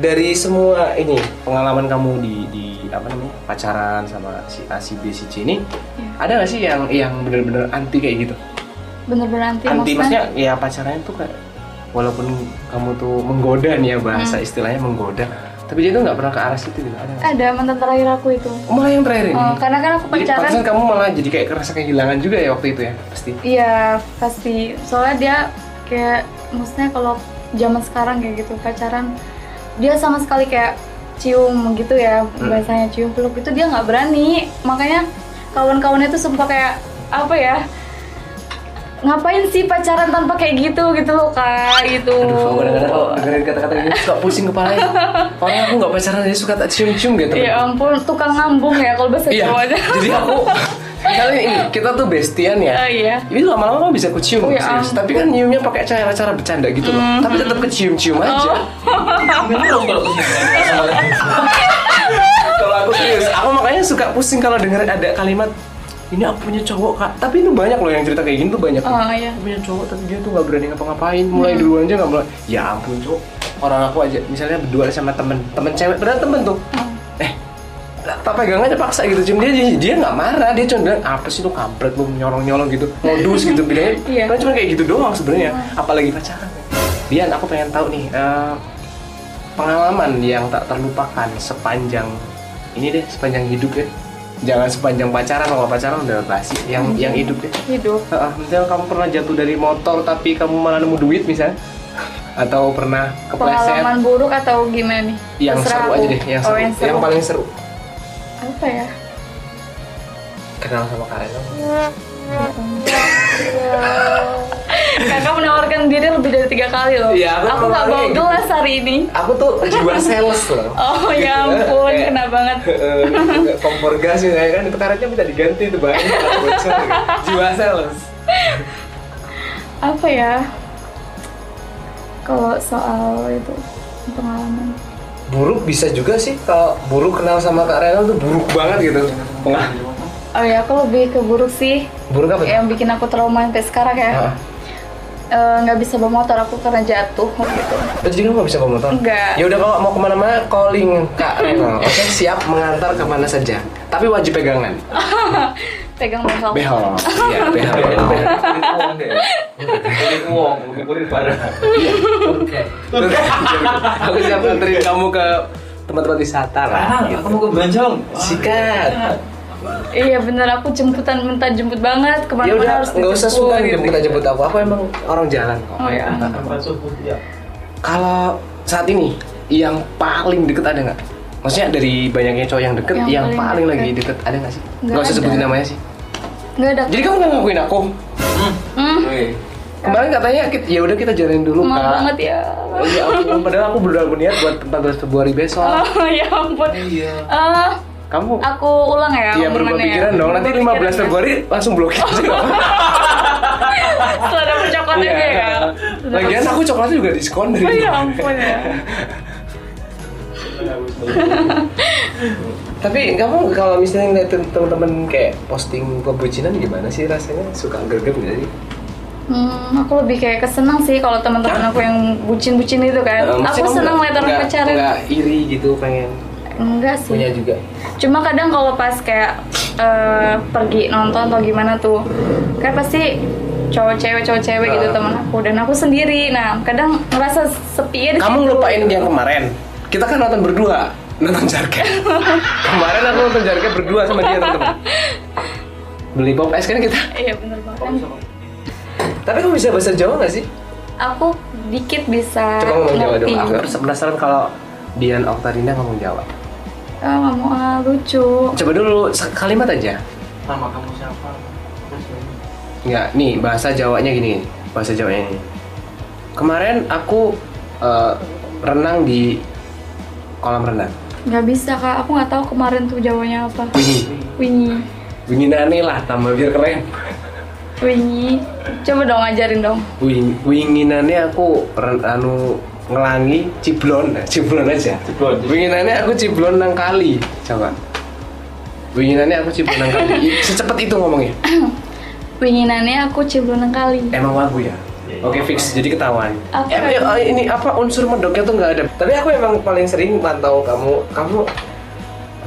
Speaker 1: dari semua ini pengalaman kamu di di apa namanya pacaran sama si A, si B, si C ini, ada nggak sih yang yang benar-benar anti kayak gitu?
Speaker 2: Bener-bener anti,
Speaker 1: anti maksudnya ya pacarnya tuh kayak walaupun kamu tuh menggoda nih ya bahasa
Speaker 2: Hmm.
Speaker 1: istilahnya menggoda tapi dia tuh nggak pernah ke arah situ gitu ada nggak?
Speaker 2: Ada mantan terakhir aku itu.
Speaker 1: Oh, malah yang terakhir ini
Speaker 2: Kan- Oh, karena kan aku
Speaker 1: jadi
Speaker 2: pacaran.
Speaker 1: pantesan kamu malah jadi kayak kerasa kehilangan juga ya waktu itu ya pasti
Speaker 2: Iya pasti. Soalnya dia kayak maksudnya kalau zaman sekarang kayak gitu pacaran dia sama sekali kayak cium gitu ya
Speaker 1: Hmm.
Speaker 2: bahasanya cium peluk itu dia nggak berani. Makanya kawan-kawannya tuh sumpah kayak apa ya? Ngapain sih pacaran tanpa kayak gitu gitu loh kak gitu.
Speaker 1: aduh aku kadang-kadang kalau dengerin kata-kata ini suka pusing kepalanya orangnya aku nggak pacaran aja suka tak cium-cium gitu
Speaker 2: Ya ampun, tukang ngambung ya kalau bahasa
Speaker 1: Iya,
Speaker 2: Jawanya.
Speaker 1: <laughs>
Speaker 2: <laughs>
Speaker 1: jadi aku kali ini kita tuh bestian ya
Speaker 2: Oh iya.
Speaker 1: Ini lama-lama kamu bisa kecium
Speaker 2: Oh, ya
Speaker 1: serius.
Speaker 2: ampun. Hmm.
Speaker 1: Tapi kan nyiumnya pakai cara-cara bercanda gitu loh Tapi tetap kecium-cium
Speaker 2: Oh.
Speaker 1: aja
Speaker 3: Bener dong kalau ke sini.
Speaker 1: kalau aku serius aku makanya suka pusing kalau denger ada kalimat ini aku punya cowok kak tapi itu banyak loh yang cerita kayak gini tuh banyak loh.
Speaker 2: Oh iya.
Speaker 1: aku punya cowok tapi dia tuh nggak berani ngapa-ngapain mulai duluan aja nggak mulai ya ampun cowok orang aku aja misalnya berdua sama temen temen cewek padahal temen tuh eh tak pegang aja paksa gitu cium dia dia- dia nggak marah dia cuma bilang apa sih lu kampret lu nyorong nyolong gitu modus gitu bilangnya
Speaker 2: Iya.
Speaker 1: Padahal cuma kayak gitu doang sebenarnya apalagi pacaran Dian aku pengen tahu nih eh, pengalaman yang tak terlupakan sepanjang ini deh sepanjang hidup ya jangan sepanjang pacaran kalau pacaran udah basi yang yang hidup ya. deh
Speaker 2: Hidup.
Speaker 1: Heeh, misalnya kamu pernah jatuh dari motor tapi kamu malah nemu duit misalnya atau pernah kepleset
Speaker 2: Pengalaman buruk atau gimana nih?
Speaker 1: yang
Speaker 2: Terserah
Speaker 1: seru
Speaker 2: aku.
Speaker 1: aja deh yang
Speaker 2: Oh,
Speaker 1: seru,
Speaker 2: yang seru.
Speaker 1: yang paling seru
Speaker 2: apa ya?
Speaker 1: kenal sama Karen dong.
Speaker 2: Kakak menawarkan diri lebih dari tiga kali loh.
Speaker 1: Iya, aku
Speaker 2: aku nggak bawa
Speaker 1: menawarkan.
Speaker 2: gelas hari ini.
Speaker 1: aku tuh jiwa sales loh <laughs>
Speaker 2: Oh
Speaker 1: Iya,
Speaker 2: ya ampun, kena banget.
Speaker 1: Eh, kompor gas gitu ya kan itu karetnya bisa diganti itu banyak bocor jiwa sales
Speaker 2: Apa ya? Kalau soal itu pengalaman.
Speaker 1: buruk bisa juga sih kalau buruk kenal sama Kak Renal tuh buruk banget gitu Pengah.
Speaker 2: Oh ya, aku lebih ke buruk sih.
Speaker 1: buruk apa tuh?
Speaker 2: Yang bikin aku trauma sampai sekarang ya.
Speaker 1: Hah?
Speaker 2: Eh, Nggak bisa bawa motor aku karena jatuh gitu.
Speaker 1: Oh, jadi kamu gak bisa bawa motor?
Speaker 2: Enggak.
Speaker 1: Ya udah kalau mau kemana-mana calling Kak
Speaker 2: <laughs>
Speaker 1: Renal. Oke siap mengantar kemana saja. Tapi wajib pegangan.
Speaker 2: Pegang behel. <laughs>
Speaker 1: Behel. Iya behel.
Speaker 3: Wong deh. Kulit Wong, kulit parah.
Speaker 1: Terus, Aku siap nganterin kamu ke tempat-tempat wisata lah.
Speaker 3: Parah,
Speaker 1: Gitu.
Speaker 3: Ah, aku mau Ah, ke Banjong.
Speaker 1: Sikat.
Speaker 2: Iya bener aku jemputan minta jemput banget
Speaker 1: Ya
Speaker 2: kemana-mana
Speaker 1: udah
Speaker 2: harus
Speaker 1: nggak usah
Speaker 2: dijemput, gitu.
Speaker 1: sungkan
Speaker 3: gitu.
Speaker 1: jemput aja jemput aku. Aku emang orang jalan kok.
Speaker 2: Oh ya.
Speaker 3: Tempat subuh ya.
Speaker 1: Kalau saat ini yang paling deket ada nggak? Maksudnya dari banyaknya cowok yang deket, yang,
Speaker 2: Yang
Speaker 1: paling,
Speaker 2: paling
Speaker 1: lagi
Speaker 2: deket.
Speaker 1: deket ada nggak sih?
Speaker 2: Nggak
Speaker 1: Nggak usah
Speaker 2: ada.
Speaker 1: sebutin namanya sih.
Speaker 2: Nggak ada.
Speaker 1: Jadi kamu nggak ngakuin aku?
Speaker 2: Hmm,
Speaker 1: Kemarin katanya kita, ya udah kita jalanin dulu
Speaker 2: maaf
Speaker 1: kak.
Speaker 2: banget ya.
Speaker 1: Oh, iya, ampun. padahal aku udah berniat buat 14 Februari besok.
Speaker 2: Oh ya Oh, ampun.
Speaker 3: Iya.
Speaker 2: Eh,
Speaker 1: Kamu
Speaker 2: Aku ulang ya
Speaker 1: Iya berubah
Speaker 2: omongannya ya.
Speaker 1: pikiran dong. Nanti 15
Speaker 2: Berubah pikiran <laughs> ya.
Speaker 1: Februari langsung Iya. blokir
Speaker 2: <laughs>
Speaker 1: juga.
Speaker 2: Setelah dapet coklatnya
Speaker 1: Iya.
Speaker 2: ya kan.
Speaker 1: Lagian aku coklatnya juga diskon dari.
Speaker 2: Oh ya ampun ya.
Speaker 1: Tapi kamu kalau misalnya ngeliat temen-temen kayak posting kebucinan gimana sih rasanya? Suka greget nggak sih?
Speaker 2: Hmm, aku lebih kayak kesenang sih kalau teman-teman aku yang bucin-bucin itu kan.
Speaker 1: Eh, maksudnya
Speaker 2: aku
Speaker 1: kamu
Speaker 2: senang
Speaker 1: nggak-
Speaker 2: lihat orang
Speaker 1: nggak-
Speaker 2: pacaran.
Speaker 1: nggak iri gitu pengen
Speaker 2: Enggak sih.
Speaker 1: punya juga.
Speaker 2: Cuma kadang kalau pas kayak eh, pergi nonton atau gimana tuh, kayak pasti cowok cewek cowok cewek gitu
Speaker 1: Ah.
Speaker 2: teman aku dan aku sendiri. Nah, kadang ngerasa sepi ya di
Speaker 1: Kamu
Speaker 2: situ.
Speaker 1: ngelupain yang kemarin. Kita kan nonton berdua, nonton Jarka. kemarin aku nonton Jarka berdua sama dia teman-teman. Beli pop es kan kita.
Speaker 2: Iya bener banget.
Speaker 1: Tapi kamu bisa bahasa Jawa nggak sih?
Speaker 2: Aku dikit bisa
Speaker 1: Coba ngomong Jawa dong.
Speaker 2: ngerti.
Speaker 1: Aku pers- penasaran kalau Dian Oktarina ngomong Jawa.
Speaker 2: Ah, kamu ah, lucu.
Speaker 1: Coba dulu se- kalimat aja.
Speaker 3: Nama kamu siapa? Terus ini.
Speaker 1: Nggak, nih bahasa Jawanya gini. Bahasa Jawanya ini. Kemarin aku eh, renang di kolam renang.
Speaker 2: Nggak bisa kak, aku nggak tahu kemarin tuh jawanya apa.
Speaker 1: Wingi.
Speaker 2: Wingi,
Speaker 1: Winginane lah, tambah biar keren.
Speaker 2: wingi. Coba dong ajarin dong.
Speaker 1: Wing, winginannya aku ren- anu ngelangi ciblon, eh, ciblon aja.
Speaker 3: Ciblon.
Speaker 1: Winginannya aku ciblon nang kali. Coba. Winginannya aku ciblon nang kali. I- Secepat itu ngomongnya.
Speaker 2: Winginannya aku ciblonang kali.
Speaker 1: Emang lagu ya?
Speaker 3: Iya.
Speaker 1: Oke fix, jadi ketahuan.
Speaker 2: Apa?
Speaker 1: Em, ya, eh, ini apa unsur medoknya tuh nggak ada. Tapi aku emang paling sering pantau kamu, kamu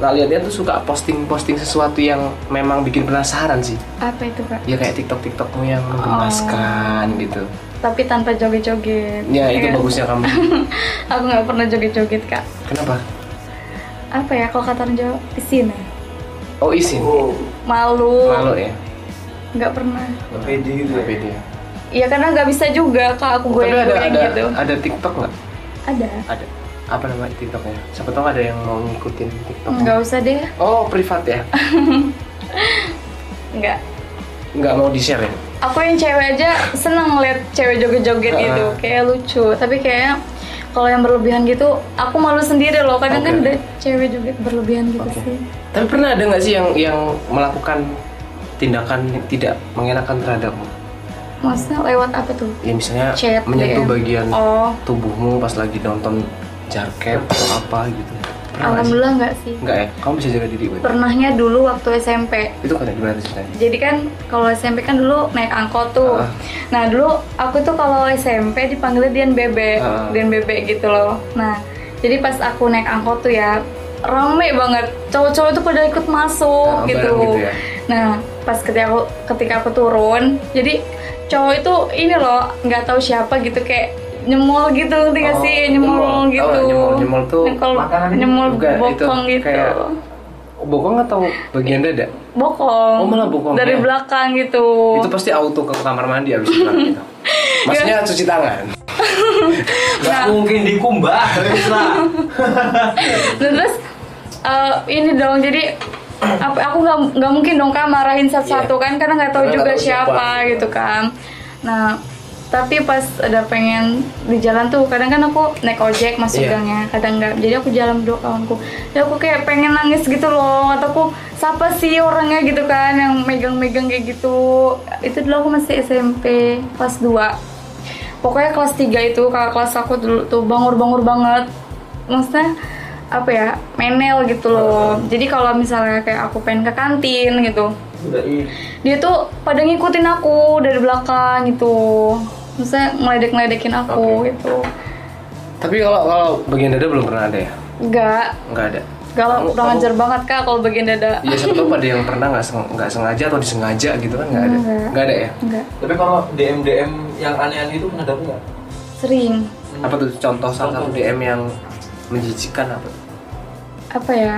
Speaker 1: kalian tuh suka posting-posting sesuatu yang memang bikin penasaran sih.
Speaker 2: Apa itu kak?
Speaker 1: Ya kayak TikTok-TikTokmu yang menggemaskan gitu.
Speaker 2: Tapi tanpa joget-joget.
Speaker 1: Ya itu
Speaker 2: kan?
Speaker 1: bagusnya kamu.
Speaker 2: <laughs> aku nggak pernah joget-joget kak.
Speaker 1: Kenapa?
Speaker 2: Apa ya kalau kata orang Jawa? Isin ya?
Speaker 1: Oh izin.
Speaker 2: Malu.
Speaker 1: Malu ya.
Speaker 2: Iya. Nggak pernah.
Speaker 3: Pede gitu ya.
Speaker 1: Tapi dia.
Speaker 2: Ya karena nggak bisa juga kak aku
Speaker 1: Tapi ada
Speaker 2: goyang-goyang
Speaker 1: ada
Speaker 2: gitu.
Speaker 1: ada TikTok nggak?
Speaker 2: Ada.
Speaker 1: Ada. Apa nama TikToknya? Siapa tahu ada yang mau ngikutin TikTok.
Speaker 2: Nggak usah deh.
Speaker 1: Oh privat ya?
Speaker 2: Nggak.
Speaker 1: Nggak mau di share ya?
Speaker 2: aku yang cewek aja seneng ngeliat cewek joget-joget
Speaker 1: Heeh.
Speaker 2: gitu kayak lucu tapi kayak kalau yang berlebihan gitu aku malu sendiri loh kadang kan
Speaker 1: Oke.
Speaker 2: ada cewek joget berlebihan gitu
Speaker 1: Oke.
Speaker 2: sih
Speaker 1: Tapi pernah ada nggak sih yang yang melakukan tindakan yang tidak mengenakan terhadapmu?
Speaker 2: maksudnya lewat apa tuh
Speaker 1: Ya misalnya
Speaker 2: chat
Speaker 1: menyentuh
Speaker 2: DM.
Speaker 1: bagian
Speaker 2: oh
Speaker 1: tubuhmu pas lagi nonton jarkep atau apa gitu. Pernah nggak sih?
Speaker 2: alhamdulillah nggak sih
Speaker 1: Nggak ya? Kamu bisa jaga diri, Wei.
Speaker 2: pernahnya dulu waktu SMP
Speaker 1: Itu kan gimana ceritanya?
Speaker 2: jadi kan kalau SMP kan dulu naik angkot tuh.
Speaker 1: Ah.
Speaker 2: Nah dulu aku tuh kalau SMP dipanggilnya Dian Bebek,
Speaker 1: Ah.
Speaker 2: Dian Bebek gitu loh. Nah jadi pas aku naik angkot tuh ya rame banget. Cowok-cowok tuh pada ikut
Speaker 1: Ah,
Speaker 2: masuk gitu.
Speaker 1: bareng gitu ya.
Speaker 2: Nah pas ketika aku ketika aku turun, jadi cowok itu ini loh nggak tahu siapa gitu kayak nyemol gitu ngerti nggak
Speaker 1: Oh,
Speaker 2: sih nyemol,
Speaker 1: nyemol. Tahu
Speaker 2: gitu
Speaker 1: nggak nyemol? Nyemol tuh
Speaker 2: Nah, kalau
Speaker 3: makanan gitu.
Speaker 2: nyemol
Speaker 1: Bukan, itu
Speaker 2: bokong gitu
Speaker 1: kayak- Bokong atau bagian dada?
Speaker 2: bokong,
Speaker 1: Oh, malah bokong,
Speaker 2: dari
Speaker 1: ya.
Speaker 2: belakang gitu
Speaker 1: Itu pasti auto ke kamar mandi abis itu. gitu. Maksudnya cuci tangan.
Speaker 3: Nggak mungkin dikumbah. Terus lah.
Speaker 2: Nah, terus eh, ini dong jadi apa aku nggak nggak mungkin dong kak marahin satu-satu
Speaker 1: Iya.
Speaker 2: kan karena nggak tahu
Speaker 1: Karena
Speaker 2: juga
Speaker 1: nggak tahu
Speaker 2: siapa,
Speaker 1: siapa.
Speaker 2: gitu kan nah tapi pas ada pengen di jalan tuh kadang kan aku naik ojek masuk
Speaker 1: Iya.
Speaker 2: gangnya kadang nggak jadi aku jalan berdua kawanku ya aku kayak pengen nangis gitu loh atau aku siapa sih orangnya gitu kan yang megang-megang kayak gitu itu dulu aku masih SMP kelas 2 pokoknya kelas 3 itu kakak kelas aku dulu tuh bangor-bangor banget maksudnya apa ya menel gitu loh jadi kalau misalnya kayak aku pengen ke kantin gitu
Speaker 3: Udah ini.
Speaker 2: dia tuh pada ngikutin aku dari belakang gitu maksudnya ngeledek-ngeledekin aku
Speaker 1: Oke.
Speaker 2: gitu
Speaker 1: Tapi kalau kalau bagian dada belum pernah ada ya?
Speaker 2: enggak
Speaker 1: Nggak ada.
Speaker 2: galau
Speaker 1: Kamu-
Speaker 2: kurang
Speaker 1: kamu-
Speaker 2: ajar banget kak kalau bagian dada
Speaker 1: Ya siapa tahu pada yang pernah nggak seng- nggak sengaja atau disengaja gitu kan nggak ada.
Speaker 2: Nggak.
Speaker 1: Nggak ada ya?
Speaker 2: enggak
Speaker 3: Tapi kalau DM DM yang aneh-aneh itu pernah dapet nggak?
Speaker 2: sering
Speaker 1: Apa tuh contoh salah satu DM yang menjijikkan apa? tuh?
Speaker 2: apa ya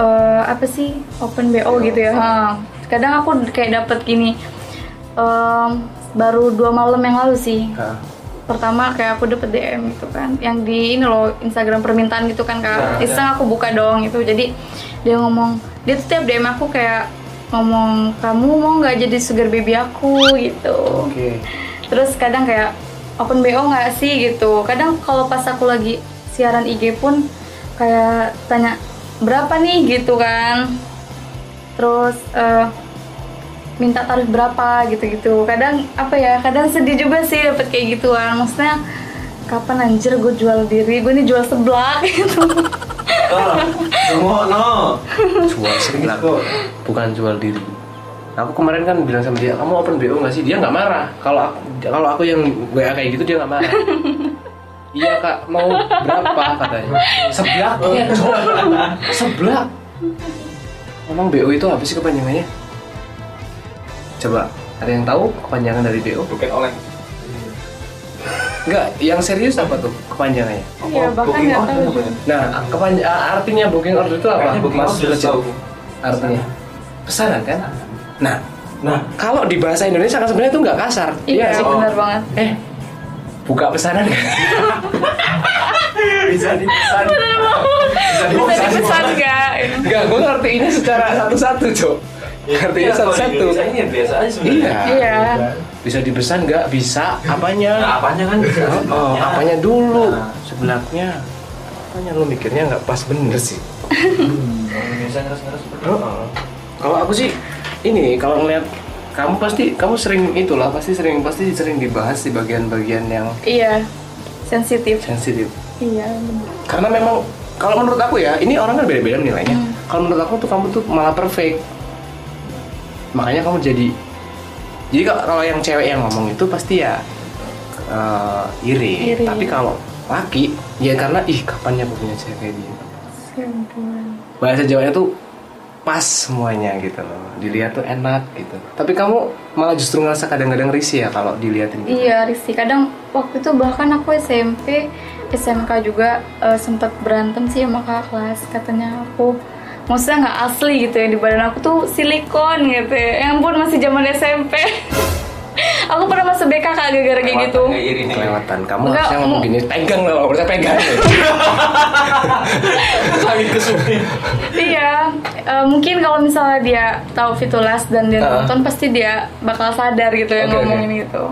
Speaker 2: eh, apa sih open bo gitu ya Ha. kadang aku kayak dapet gini em, baru dua malam yang lalu sih
Speaker 1: Hah?
Speaker 2: pertama kayak aku dapet DM gitu kan yang di ini loh Instagram permintaan gitu kan
Speaker 3: Ya,
Speaker 2: kak
Speaker 3: ya.
Speaker 2: iseng aku buka dong itu jadi dia ngomong dia tuh tiap DM aku kayak ngomong kamu mau nggak jadi sugar baby aku gitu
Speaker 1: Oke.
Speaker 2: terus kadang kayak open bo nggak sih gitu kadang kalau pas aku lagi siaran IG pun kayak tanya berapa nih gitu kan terus eh, minta tarif berapa gitu-gitu kadang apa ya kadang sedih juga sih dapet kayak gituan maksudnya kapan anjir gue jual diri gue nih jual seblak <laughs> gitu
Speaker 3: Semua no.
Speaker 1: jual seblak bukan jual diri aku kemarin kan bilang sama dia kamu open bo nggak sih dia nggak marah kalau aku kalau aku yang wa kayak gitu dia nggak
Speaker 3: <laughs>
Speaker 1: marah iya kak mau berapa katanya seblak
Speaker 3: Oh.
Speaker 1: Cok. seblak emang bo itu apa sih kepanjangannya coba ada yang tahu kepanjangan dari bo
Speaker 3: Bukan oleh.
Speaker 1: enggak yang serius apa tuh kepanjangannya
Speaker 2: Iya, bahkan
Speaker 3: Booking
Speaker 2: nggak
Speaker 3: order
Speaker 2: tahu
Speaker 3: bukan?
Speaker 1: nah kepanj a- artinya booking order itu apa
Speaker 3: Kayaknya booking
Speaker 1: Mas
Speaker 3: order
Speaker 1: Recep?
Speaker 3: tahu.
Speaker 1: artinya pesanan kan nah
Speaker 3: Nah,
Speaker 1: kalau di bahasa Indonesia kan sebenarnya itu nggak kasar
Speaker 2: iya
Speaker 1: nggak sih?
Speaker 2: benar banget
Speaker 1: eh buka pesanan kan
Speaker 3: bisa dipesan.
Speaker 2: bisa dipesan nggak
Speaker 1: <laughs> nggak gue ngertiinnya secara satu-satu cok ngertiinnya satu-satu
Speaker 3: Bisa Iya, ini biasa aja sebenarnya.
Speaker 1: iya
Speaker 2: iya
Speaker 1: bisa dipesan nggak bisa
Speaker 3: Nah,
Speaker 1: apanya
Speaker 3: apanya kan bisa.
Speaker 1: oh
Speaker 3: sebenarnya.
Speaker 1: apanya dulu
Speaker 3: Nah.
Speaker 1: sebelaknya apanya lu mikirnya nggak pas bener sih
Speaker 3: Hmm, orang Indonesia ngeres-ngeres seperti itu.
Speaker 1: kalau aku sih ini kalau ngeliat kamu pasti kamu sering itulah pasti sering pasti sering dibahas di bagian-bagian yang
Speaker 2: iya sensitif
Speaker 1: sensitif
Speaker 2: iya benar.
Speaker 1: karena memang kalau menurut aku ya ini orang kan beda-beda nilainya
Speaker 2: Hmm.
Speaker 1: kalau menurut aku tuh kamu tuh malah perfect makanya kamu jadi jadi kalau kalau yang cewek yang ngomong itu pasti ya eh, iri.
Speaker 2: Iri.
Speaker 1: tapi kalau laki ya karena ih kapan ya aku punya cewek kayak dia bahasa Jawanya tuh pas semuanya gitu loh dilihat tuh enak gitu tapi kamu malah justru ngerasa kadang-kadang risih ya kalau dilihatin gitu
Speaker 2: Iya risih. Kadang waktu itu bahkan aku SMP, SMK juga sempat berantem sih sama kakak kelas. Katanya aku maksudnya nggak asli gitu ya di badan aku tuh silikon gitu. Ya Ya ampun masih zaman SMP. <laughs> aku pernah masuk BK Kak, gara-gara kayak gitu.
Speaker 3: Kayak iri nih.
Speaker 1: kelewatan kamu
Speaker 2: Enggak,
Speaker 1: harusnya ngomong
Speaker 2: mu-
Speaker 1: gini pegang lah kalau saya
Speaker 2: <laughs>
Speaker 1: pegang
Speaker 3: Sakit kesukin.
Speaker 2: iya. eh, mungkin kalau misalnya dia tahu Fitulas dan dia
Speaker 1: Ah.
Speaker 2: nonton pasti dia bakal sadar gitu ya
Speaker 1: Oke,
Speaker 2: ngomongin gitu.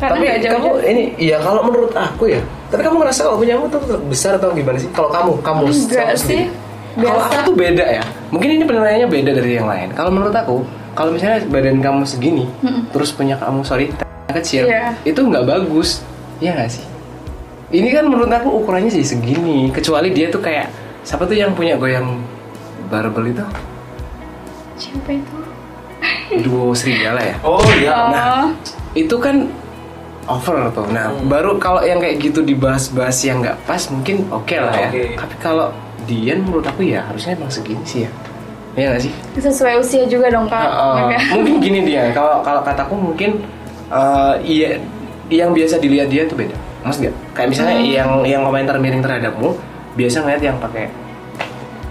Speaker 2: Karena
Speaker 1: tapi
Speaker 2: nggak jauh-jauh.
Speaker 1: kamu ini iya kalau menurut aku ya tapi kamu ngerasa kalau punya kamu tuh besar atau gimana sih kalau kamu kamu kamu
Speaker 2: Enggak
Speaker 1: sendiri.
Speaker 2: sih.
Speaker 1: kalau
Speaker 2: Biasa.
Speaker 1: aku tuh beda ya mungkin ini penilaiannya beda dari yang lain kalau menurut aku kalau misalnya badan kamu segini terus punya kamu sorry t- kecil
Speaker 2: Iya.
Speaker 1: itu nggak bagus ya nggak sih ini kan menurut aku ukurannya sih segini kecuali dia tuh kayak siapa tuh yang punya goyang barbel itu
Speaker 2: Siapa itu?
Speaker 1: duo serigala ya
Speaker 3: Oh iya.
Speaker 2: Oh.
Speaker 1: itu kan over tuh. Nah, baru kalau yang kayak gitu dibahas-bahas yang nggak pas mungkin oke lah ya.
Speaker 3: Oke.
Speaker 1: Tapi kalau Dian menurut aku ya harusnya emang segini sih ya. Iya nggak sih?
Speaker 2: sesuai usia juga dong kak
Speaker 1: Uh, uh,
Speaker 2: Makanya-
Speaker 1: mungkin gini dia. Kalau kalau kataku mungkin uh, iya yang biasa dilihat dia tuh beda. Mas nggak? Kayak misalnya
Speaker 2: Hmm.
Speaker 1: yang yang komentar miring terhadapmu biasa ngeliat yang pakai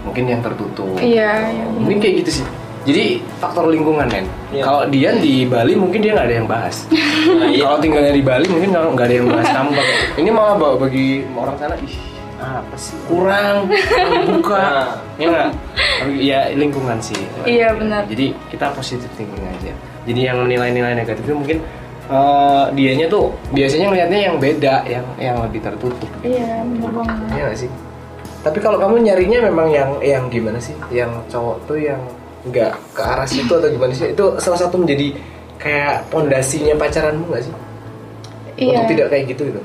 Speaker 1: mungkin yang tertutup.
Speaker 2: iya iya.
Speaker 1: Mungkin kayak gitu sih. Jadi faktor lingkungan men.
Speaker 3: Iya.
Speaker 1: Kalau Dian di Bali mungkin dia nggak ada yang bahas.
Speaker 2: <laughs>
Speaker 3: Nah, iya.
Speaker 1: Kalau tinggalnya di Bali mungkin kalau nggak ada yang bahas kamu
Speaker 3: <laughs>
Speaker 1: Pak. Ini malah bawa bagi orang sana ih apa sih kurang kurang buka
Speaker 3: Nah.
Speaker 1: ya nggak? Tapi ya lingkungan sih
Speaker 2: Iya, benar.
Speaker 1: jadi kita positif thinking aja jadi yang nilai-nilai negatif itu mungkin eh, dianya tuh biasanya ngelihatnya yang beda yang yang lebih tertutup
Speaker 2: iya bener banget
Speaker 1: Iya nggak sih tapi kalau kamu nyarinya memang yang yang gimana sih yang cowok tuh yang nggak ke arah situ atau gimana sih itu salah satu menjadi kayak pondasinya pacaranmu nggak sih
Speaker 2: iya
Speaker 1: untuk tidak kayak gitu gitu.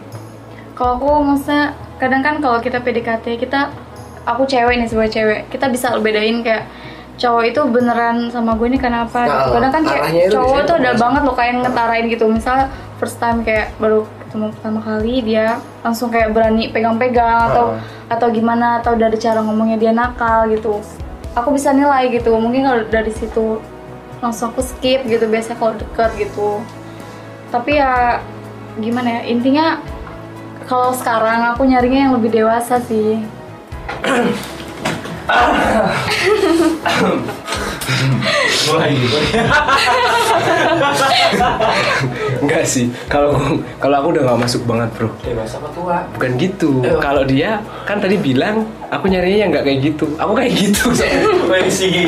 Speaker 2: kalau aku maksudnya kadang kan kalau kita PDKT kita aku cewek nih sebagai cewek kita bisa bedain kayak cowok itu beneran sama gue ini kenapa
Speaker 1: Nah,
Speaker 2: gitu. kadang kan kayak
Speaker 1: arahnya itu
Speaker 2: cowok
Speaker 1: biasanya
Speaker 2: tuh ada
Speaker 1: kemana sih?
Speaker 2: banget loh kayak ngetarain gitu misalnya first time kayak baru ketemu pertama kali dia langsung kayak berani pegang-pegang atau
Speaker 1: Ah.
Speaker 2: atau gimana atau dari cara ngomongnya dia nakal gitu aku bisa nilai gitu mungkin kalau dari situ langsung aku skip gitu biasanya kalau deket gitu tapi ya gimana ya intinya kalau sekarang aku nyarinya yang lebih dewasa sih Oh.
Speaker 3: Mulai gitu.
Speaker 1: Enggak sih. Kalau kalau aku udah nggak masuk banget, Bro.
Speaker 3: Dewasa apa tua?
Speaker 1: Bukan gitu.
Speaker 3: Eh.
Speaker 1: Kalau dia kan tadi bilang aku nyarinya yang nggak kayak gitu. Aku kayak <laughs> gitu. soalnya.
Speaker 3: Kayak sigi.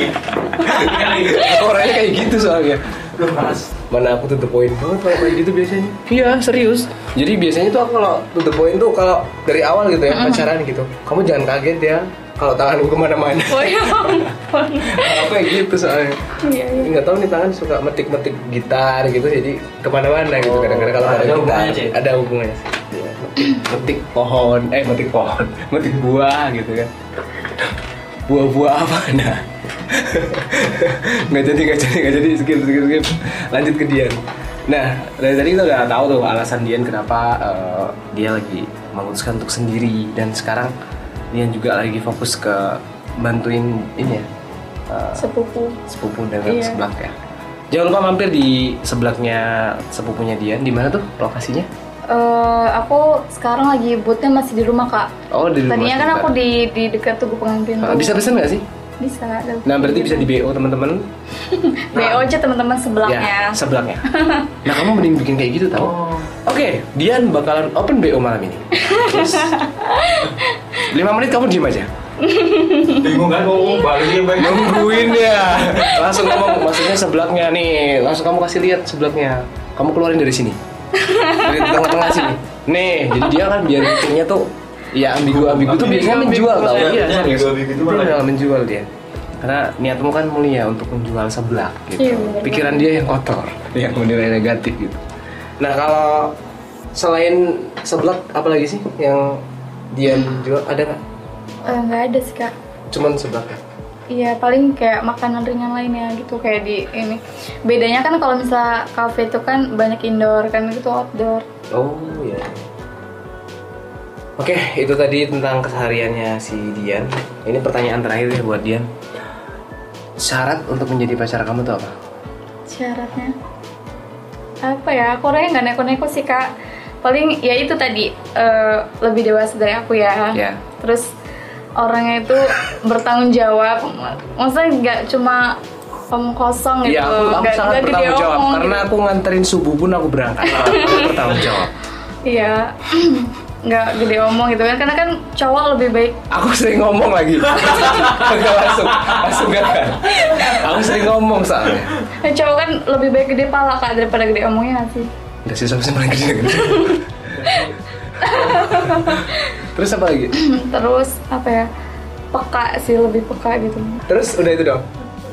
Speaker 1: Aku Orangnya kayak gitu soalnya.
Speaker 3: Belum panas.
Speaker 1: Mana aku tuh the point banget kalau kayak gitu biasanya. Iya, serius. Jadi biasanya tuh aku kalau to the point tuh kalau dari awal gitu ya pacaran gitu. Kamu jangan kaget ya kalau tangan gue kemana-mana
Speaker 2: Oh ya ampun.
Speaker 1: apa ya gitu soalnya
Speaker 2: Iya, iya.
Speaker 1: nggak tahu nih tangan suka metik-metik gitar gitu jadi kemana-mana gitu
Speaker 3: Oh,
Speaker 1: kadang-kadang kalau ada
Speaker 3: ada
Speaker 1: gitar
Speaker 3: hubungannya, Cik?
Speaker 1: ada hubungannya sih. Iya, metik, metik pohon eh metik pohon <laughs> metik buah gitu kan buah-buah apa <laughs> nah nggak jadi nggak jadi nggak jadi skip skip skip lanjut ke Dian nah dari tadi kita udah tahu tuh alasan Dian kenapa eh, dia lagi memutuskan untuk sendiri dan sekarang Dian juga lagi fokus ke bantuin ini ya eh,
Speaker 2: Sepupu.
Speaker 1: sepupu dengan
Speaker 2: Iya.
Speaker 1: seblak ya. Jangan lupa mampir di seblaknya sepupunya Dian. Di mana tuh lokasinya?
Speaker 2: Eh, aku sekarang lagi bootnya masih di rumah kak.
Speaker 1: Oh di rumah.
Speaker 2: Tadinya kan
Speaker 1: sebentar.
Speaker 2: aku di di dekat tugu pengantin.
Speaker 1: Ah,
Speaker 2: tuh.
Speaker 1: bisa pesan nggak sih?
Speaker 2: Bisa. ada-
Speaker 1: Nah berarti bisa di BO teman-teman.
Speaker 2: BO aja teman-teman sebelahnya.
Speaker 1: Ya, seblaknya. nah kamu mending bikin kayak gitu tau?
Speaker 3: Oh.
Speaker 1: Oke, Dian bakalan open BO malam ini. Terus, lima menit kamu diem aja.
Speaker 3: Bingung kan mau ngomong balik ya baik.
Speaker 1: Nungguin ya. Langsung ngomong, maksudnya seblaknya nih. Langsung kamu kasih lihat seblaknya. Kamu keluarin dari sini. Dari tengah-tengah sini. Nih, jadi dia kan biar bikinnya tuh ya ambigu-ambigu tuh biasanya menjual tau.
Speaker 3: Ambigu,
Speaker 1: Iya,
Speaker 3: ambigu,
Speaker 1: serius.
Speaker 3: ambigu itu
Speaker 1: Itu
Speaker 3: malah.
Speaker 1: adalah menjual dia. Karena niatmu kan mulia untuk menjual seblak
Speaker 2: Iya,
Speaker 1: gitu.
Speaker 2: bener.
Speaker 1: Pikiran dia yang kotor, yang menilai negatif gitu. Nah, kalau selain seblak apalagi sih yang dia jual ada nggak?
Speaker 2: Eh, Nggak ada sih kak.
Speaker 1: Cuman seblak ya?
Speaker 2: Iya paling kayak makanan ringan lainnya gitu kayak di ini. Bedanya kan kalau misalnya kafe itu kan banyak indoor kan itu outdoor.
Speaker 1: Oh ya. Oke, itu tadi tentang kesehariannya si Dian. Ini pertanyaan terakhir ya buat Dian. Syarat untuk menjadi pacar kamu tuh apa?
Speaker 2: Syaratnya apa ya? Aku orangnya nggak neko-neko sih kak. Paling ya itu tadi eh, lebih dewasa dari aku ya.
Speaker 1: Iya.
Speaker 2: Terus orangnya itu bertanggung jawab. Maksudnya nggak cuma omong kosong gitu.
Speaker 1: Iya, aku, aku
Speaker 2: Nggak-
Speaker 1: sangat
Speaker 2: nggak gede
Speaker 1: bertanggung jawab
Speaker 2: omong
Speaker 1: karena
Speaker 2: gitu.
Speaker 1: aku nganterin subuh pun aku
Speaker 2: <laughs>
Speaker 1: berangkat. aku bertanggung jawab.
Speaker 2: Iya. <clears throat> nggak gede omong gitu kan karena kan cowok lebih baik
Speaker 1: Aku sering ngomong
Speaker 2: <laughs>
Speaker 1: lagi. Gak langsung, langsung gak kan? Aku sering ngomong soalnya.
Speaker 2: eh, cowok kan lebih baik gede pala kak daripada gede omongnya nggak sih <clears throat>
Speaker 1: Udah sih sampai paling
Speaker 2: <laughs>
Speaker 1: gede. Terus apa lagi?
Speaker 2: terus apa ya peka sih lebih peka gitu
Speaker 1: Terus udah itu dong.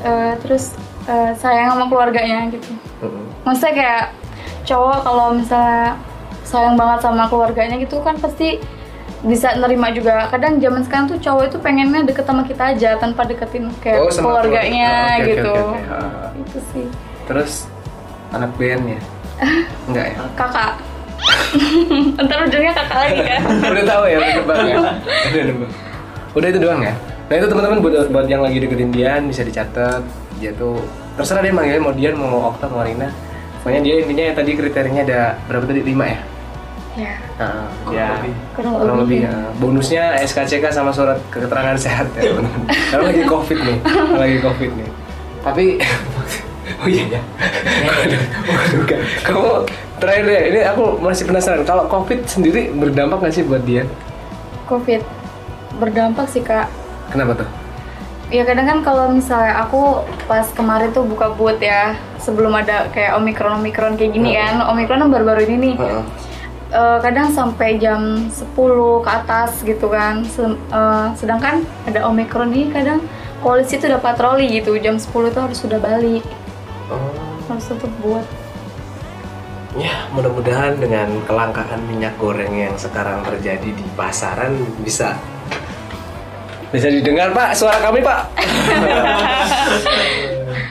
Speaker 2: Eh, terus eh, sayang sama keluarganya gitu
Speaker 1: Mm-mm.
Speaker 2: maksudnya kayak cowok kalau misalnya sayang banget sama keluarganya gitu kan pasti bisa nerima juga kadang zaman sekarang tuh cowok itu pengennya deket sama kita aja tanpa deketin kayak
Speaker 1: Oh, sama keluarga.
Speaker 2: keluarganya
Speaker 1: Oke, oke,
Speaker 2: gitu
Speaker 1: oke, oke. Ah.
Speaker 2: itu sih
Speaker 1: Terus anak bandnya? Enggak ya?
Speaker 2: kakak <laughs> ntar ujungnya kakak lagi kan
Speaker 1: Udah tahu ya, udah nebak ya? Udah nebak. Udah itu doang ya? Nah itu teman-teman buat, buat yang lagi deketin Dian bisa dicatat dia tuh terserah dia manggilnya mau Dian mau Okta mau Rina pokoknya dia intinya yang tadi kriterianya ada berapa tadi lima ya
Speaker 2: ya
Speaker 1: Nah, ya
Speaker 2: Kurang
Speaker 1: kurang
Speaker 2: lebih.
Speaker 1: lebih ya. bonusnya SKCK sama surat keterangan <laughs> sehat ya teman-teman karena lagi covid
Speaker 2: <laughs>
Speaker 1: nih karena lagi covid nih tapi <laughs> oh iya ya Waduh, waduh, Kak. kamu terakhir deh ini aku masih penasaran kalau covid sendiri berdampak nggak sih buat dia
Speaker 2: covid berdampak sih kak
Speaker 1: kenapa tuh
Speaker 2: ya kadang kan kalau misalnya aku pas kemarin tuh buka boot ya sebelum ada kayak omikron omikron kayak gini kan omikron kan baru-baru ini nih Eh, kadang sampai jam 10 ke atas gitu kan Sem- eh, sedangkan ada omikron ini kadang polisi tuh udah patroli gitu jam 10 tuh harus sudah balik
Speaker 1: Oh.
Speaker 2: harus tutup buat
Speaker 1: Ya, mudah-mudahan dengan kelangkaan minyak goreng yang sekarang terjadi di pasaran bisa bisa didengar Pak, suara kami Pak.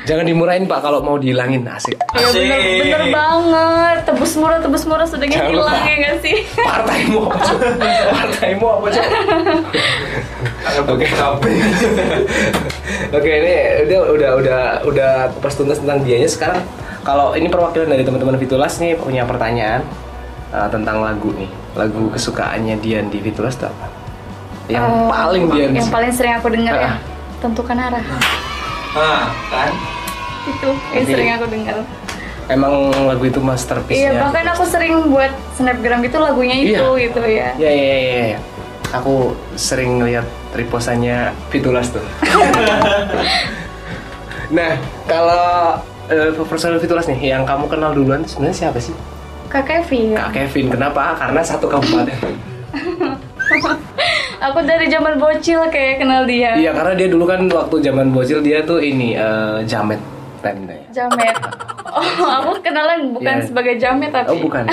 Speaker 1: Jangan dimurahin Pak kalau mau dihilangin asik.
Speaker 2: ya
Speaker 3: Asik.
Speaker 2: bener, bener banget tebus murah tebus murah sudah
Speaker 1: Jangan lupa.
Speaker 2: hilang ya nggak sih
Speaker 1: Partaimu apa Cuk? Partaimu apa Cuk?
Speaker 3: Oke, sampai.
Speaker 1: <laughs> Oke ini udah udah udah udah kupas tuntas tentang dianya sekarang. Kalau ini perwakilan dari teman-teman Fitulas nih punya pertanyaan eh, tentang lagu nih, lagu kesukaannya Dian di Fitulas tuh apa? Yang
Speaker 2: Eh,
Speaker 1: paling Dian
Speaker 2: yang
Speaker 1: suka.
Speaker 2: paling sering aku dengar ya
Speaker 1: Ah.
Speaker 2: tentukan arah
Speaker 3: Nah, kan?
Speaker 2: <laughs> itu yang
Speaker 1: Oke.
Speaker 2: sering aku dengar
Speaker 1: Emang lagu itu masterpiece
Speaker 2: iya bahkan aku sering buat snapgram gitu lagunya itu
Speaker 1: Iya.
Speaker 2: gitu ya
Speaker 1: Ya ya ya, ya, ya. Aku sering lihat riposannya Fitulas
Speaker 2: <laughs>
Speaker 1: tuh. nah, kalau eh, personel Fitulas nih yang kamu kenal duluan sebenarnya siapa sih?
Speaker 2: kak Kevin Eh.
Speaker 1: Kak Kevin. Kenapa? Karena satu kabupaten.
Speaker 2: aku dari zaman bocil kayak kenal dia.
Speaker 1: Iya karena dia dulu kan waktu zaman bocil dia tuh ini eh, jamet ya. pendek.
Speaker 2: Jamet.
Speaker 1: <laughs>
Speaker 2: Oh, aku kenalan bukan
Speaker 1: Iya.
Speaker 2: sebagai jamet tapi.
Speaker 1: Oh bukan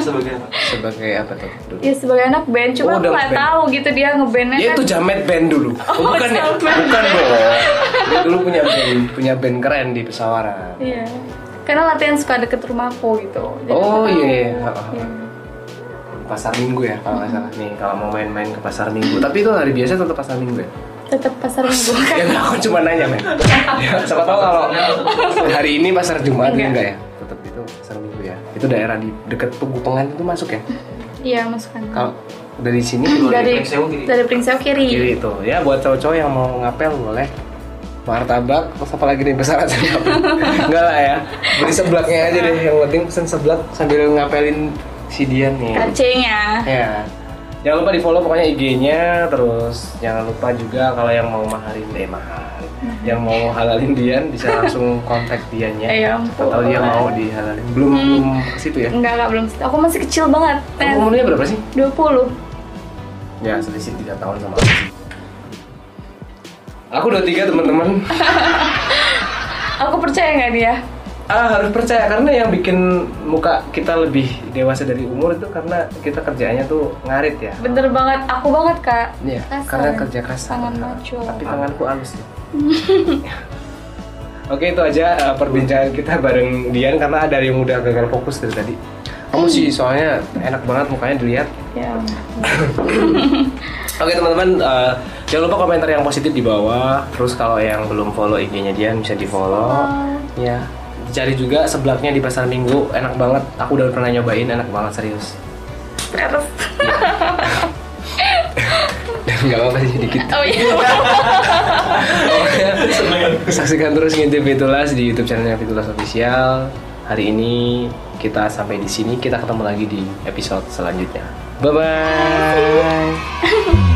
Speaker 3: sebagai apa?
Speaker 1: sebagai apa tuh dulu?
Speaker 2: Ya sebagai anak band,
Speaker 1: Oh,
Speaker 2: cuma aku
Speaker 1: udah
Speaker 2: nggak
Speaker 1: band.
Speaker 2: tahu gitu dia ngebandnya
Speaker 1: Dia
Speaker 2: kan.
Speaker 1: itu jamet band dulu. Oh, bukan ya?
Speaker 2: jamet
Speaker 1: Bukan dong. Dia dulu punya band punya band keren di Pesawaran.
Speaker 2: Iya. Karena latihan suka deket rumahku gitu. Jadi
Speaker 1: Oh,
Speaker 2: aku tahu.
Speaker 1: iya, iya.
Speaker 2: Iya.
Speaker 1: Pasar Minggu ya kalau nggak salah nih kalau mau main-main ke Pasar Minggu. Tapi itu hari biasa tetap Pasar <laughs> Minggu ya.
Speaker 2: Tetap pasar minggu
Speaker 1: <laughs>
Speaker 2: kan.
Speaker 1: Ya aku cuma nanya men. Ya, siapa tahu kalau hari ini pasar Jumat ya
Speaker 2: Enggak.
Speaker 1: enggak ya? Tetap itu pasar Minggu ya. Itu daerah di dekat Pegunungan itu masuk ya.
Speaker 2: Iya masukan.
Speaker 1: Kalau dari sini
Speaker 2: Dari
Speaker 3: Pringsewu kiri.
Speaker 2: dari Pringsewu kiri.
Speaker 1: kiri itu ya buat cowok-cowok yang mau ngapel boleh martabak terus apa lagi nih besar aja <laughs> enggak lah ya beli seblaknya aja deh yang penting pesen seblak sambil ngapelin si Dian nih
Speaker 2: Kacing ya.
Speaker 1: ya jangan lupa di follow pokoknya IG-nya terus jangan lupa juga kalau yang mau maharin eh mahal yang mau halalin Dian bisa langsung kontak Diannya
Speaker 2: Ya
Speaker 1: Iya.
Speaker 2: ampun.
Speaker 1: atau dia mau dihalalin belum belum ke situ ya
Speaker 2: Enggak, enggak belum. Aku masih kecil banget.
Speaker 1: kamu
Speaker 2: Ten.
Speaker 1: umurnya berapa sih
Speaker 2: 20.
Speaker 1: ya selisih tiga tahun sama aku sih. aku udah tiga teman-teman
Speaker 2: Aku percaya nggak dia?
Speaker 1: Ah harus percaya karena yang bikin muka kita lebih dewasa dari umur itu karena kita kerjaannya tuh ngarit ya.
Speaker 2: Bener banget, aku banget kak.
Speaker 1: Iya,
Speaker 2: Kasar.
Speaker 1: karena kerja kasar.
Speaker 2: Tangan macul.
Speaker 1: Tapi tanganku halus ya. <laughs> Oke itu aja uh, perbincangan kita bareng Dian karena ada yang udah gagal fokus dari tadi. Kamu sih soalnya enak banget mukanya dilihat.
Speaker 2: Ya.
Speaker 1: Oke teman-teman uh, jangan lupa komentar yang positif di bawah. Terus kalau yang belum follow IG-nya Dian bisa di follow. Ya cari juga seblaknya di pasar minggu enak banget. Aku udah pernah nyobain enak banget serius. <laughs>
Speaker 2: Terus.
Speaker 1: dan nggak apa-apa sih dikit
Speaker 2: Oh iya.
Speaker 1: saksikan terus ngintip Fitulas di YouTube channelnya Fitulas Official hari ini kita sampai di sini kita ketemu lagi di episode selanjutnya bye bye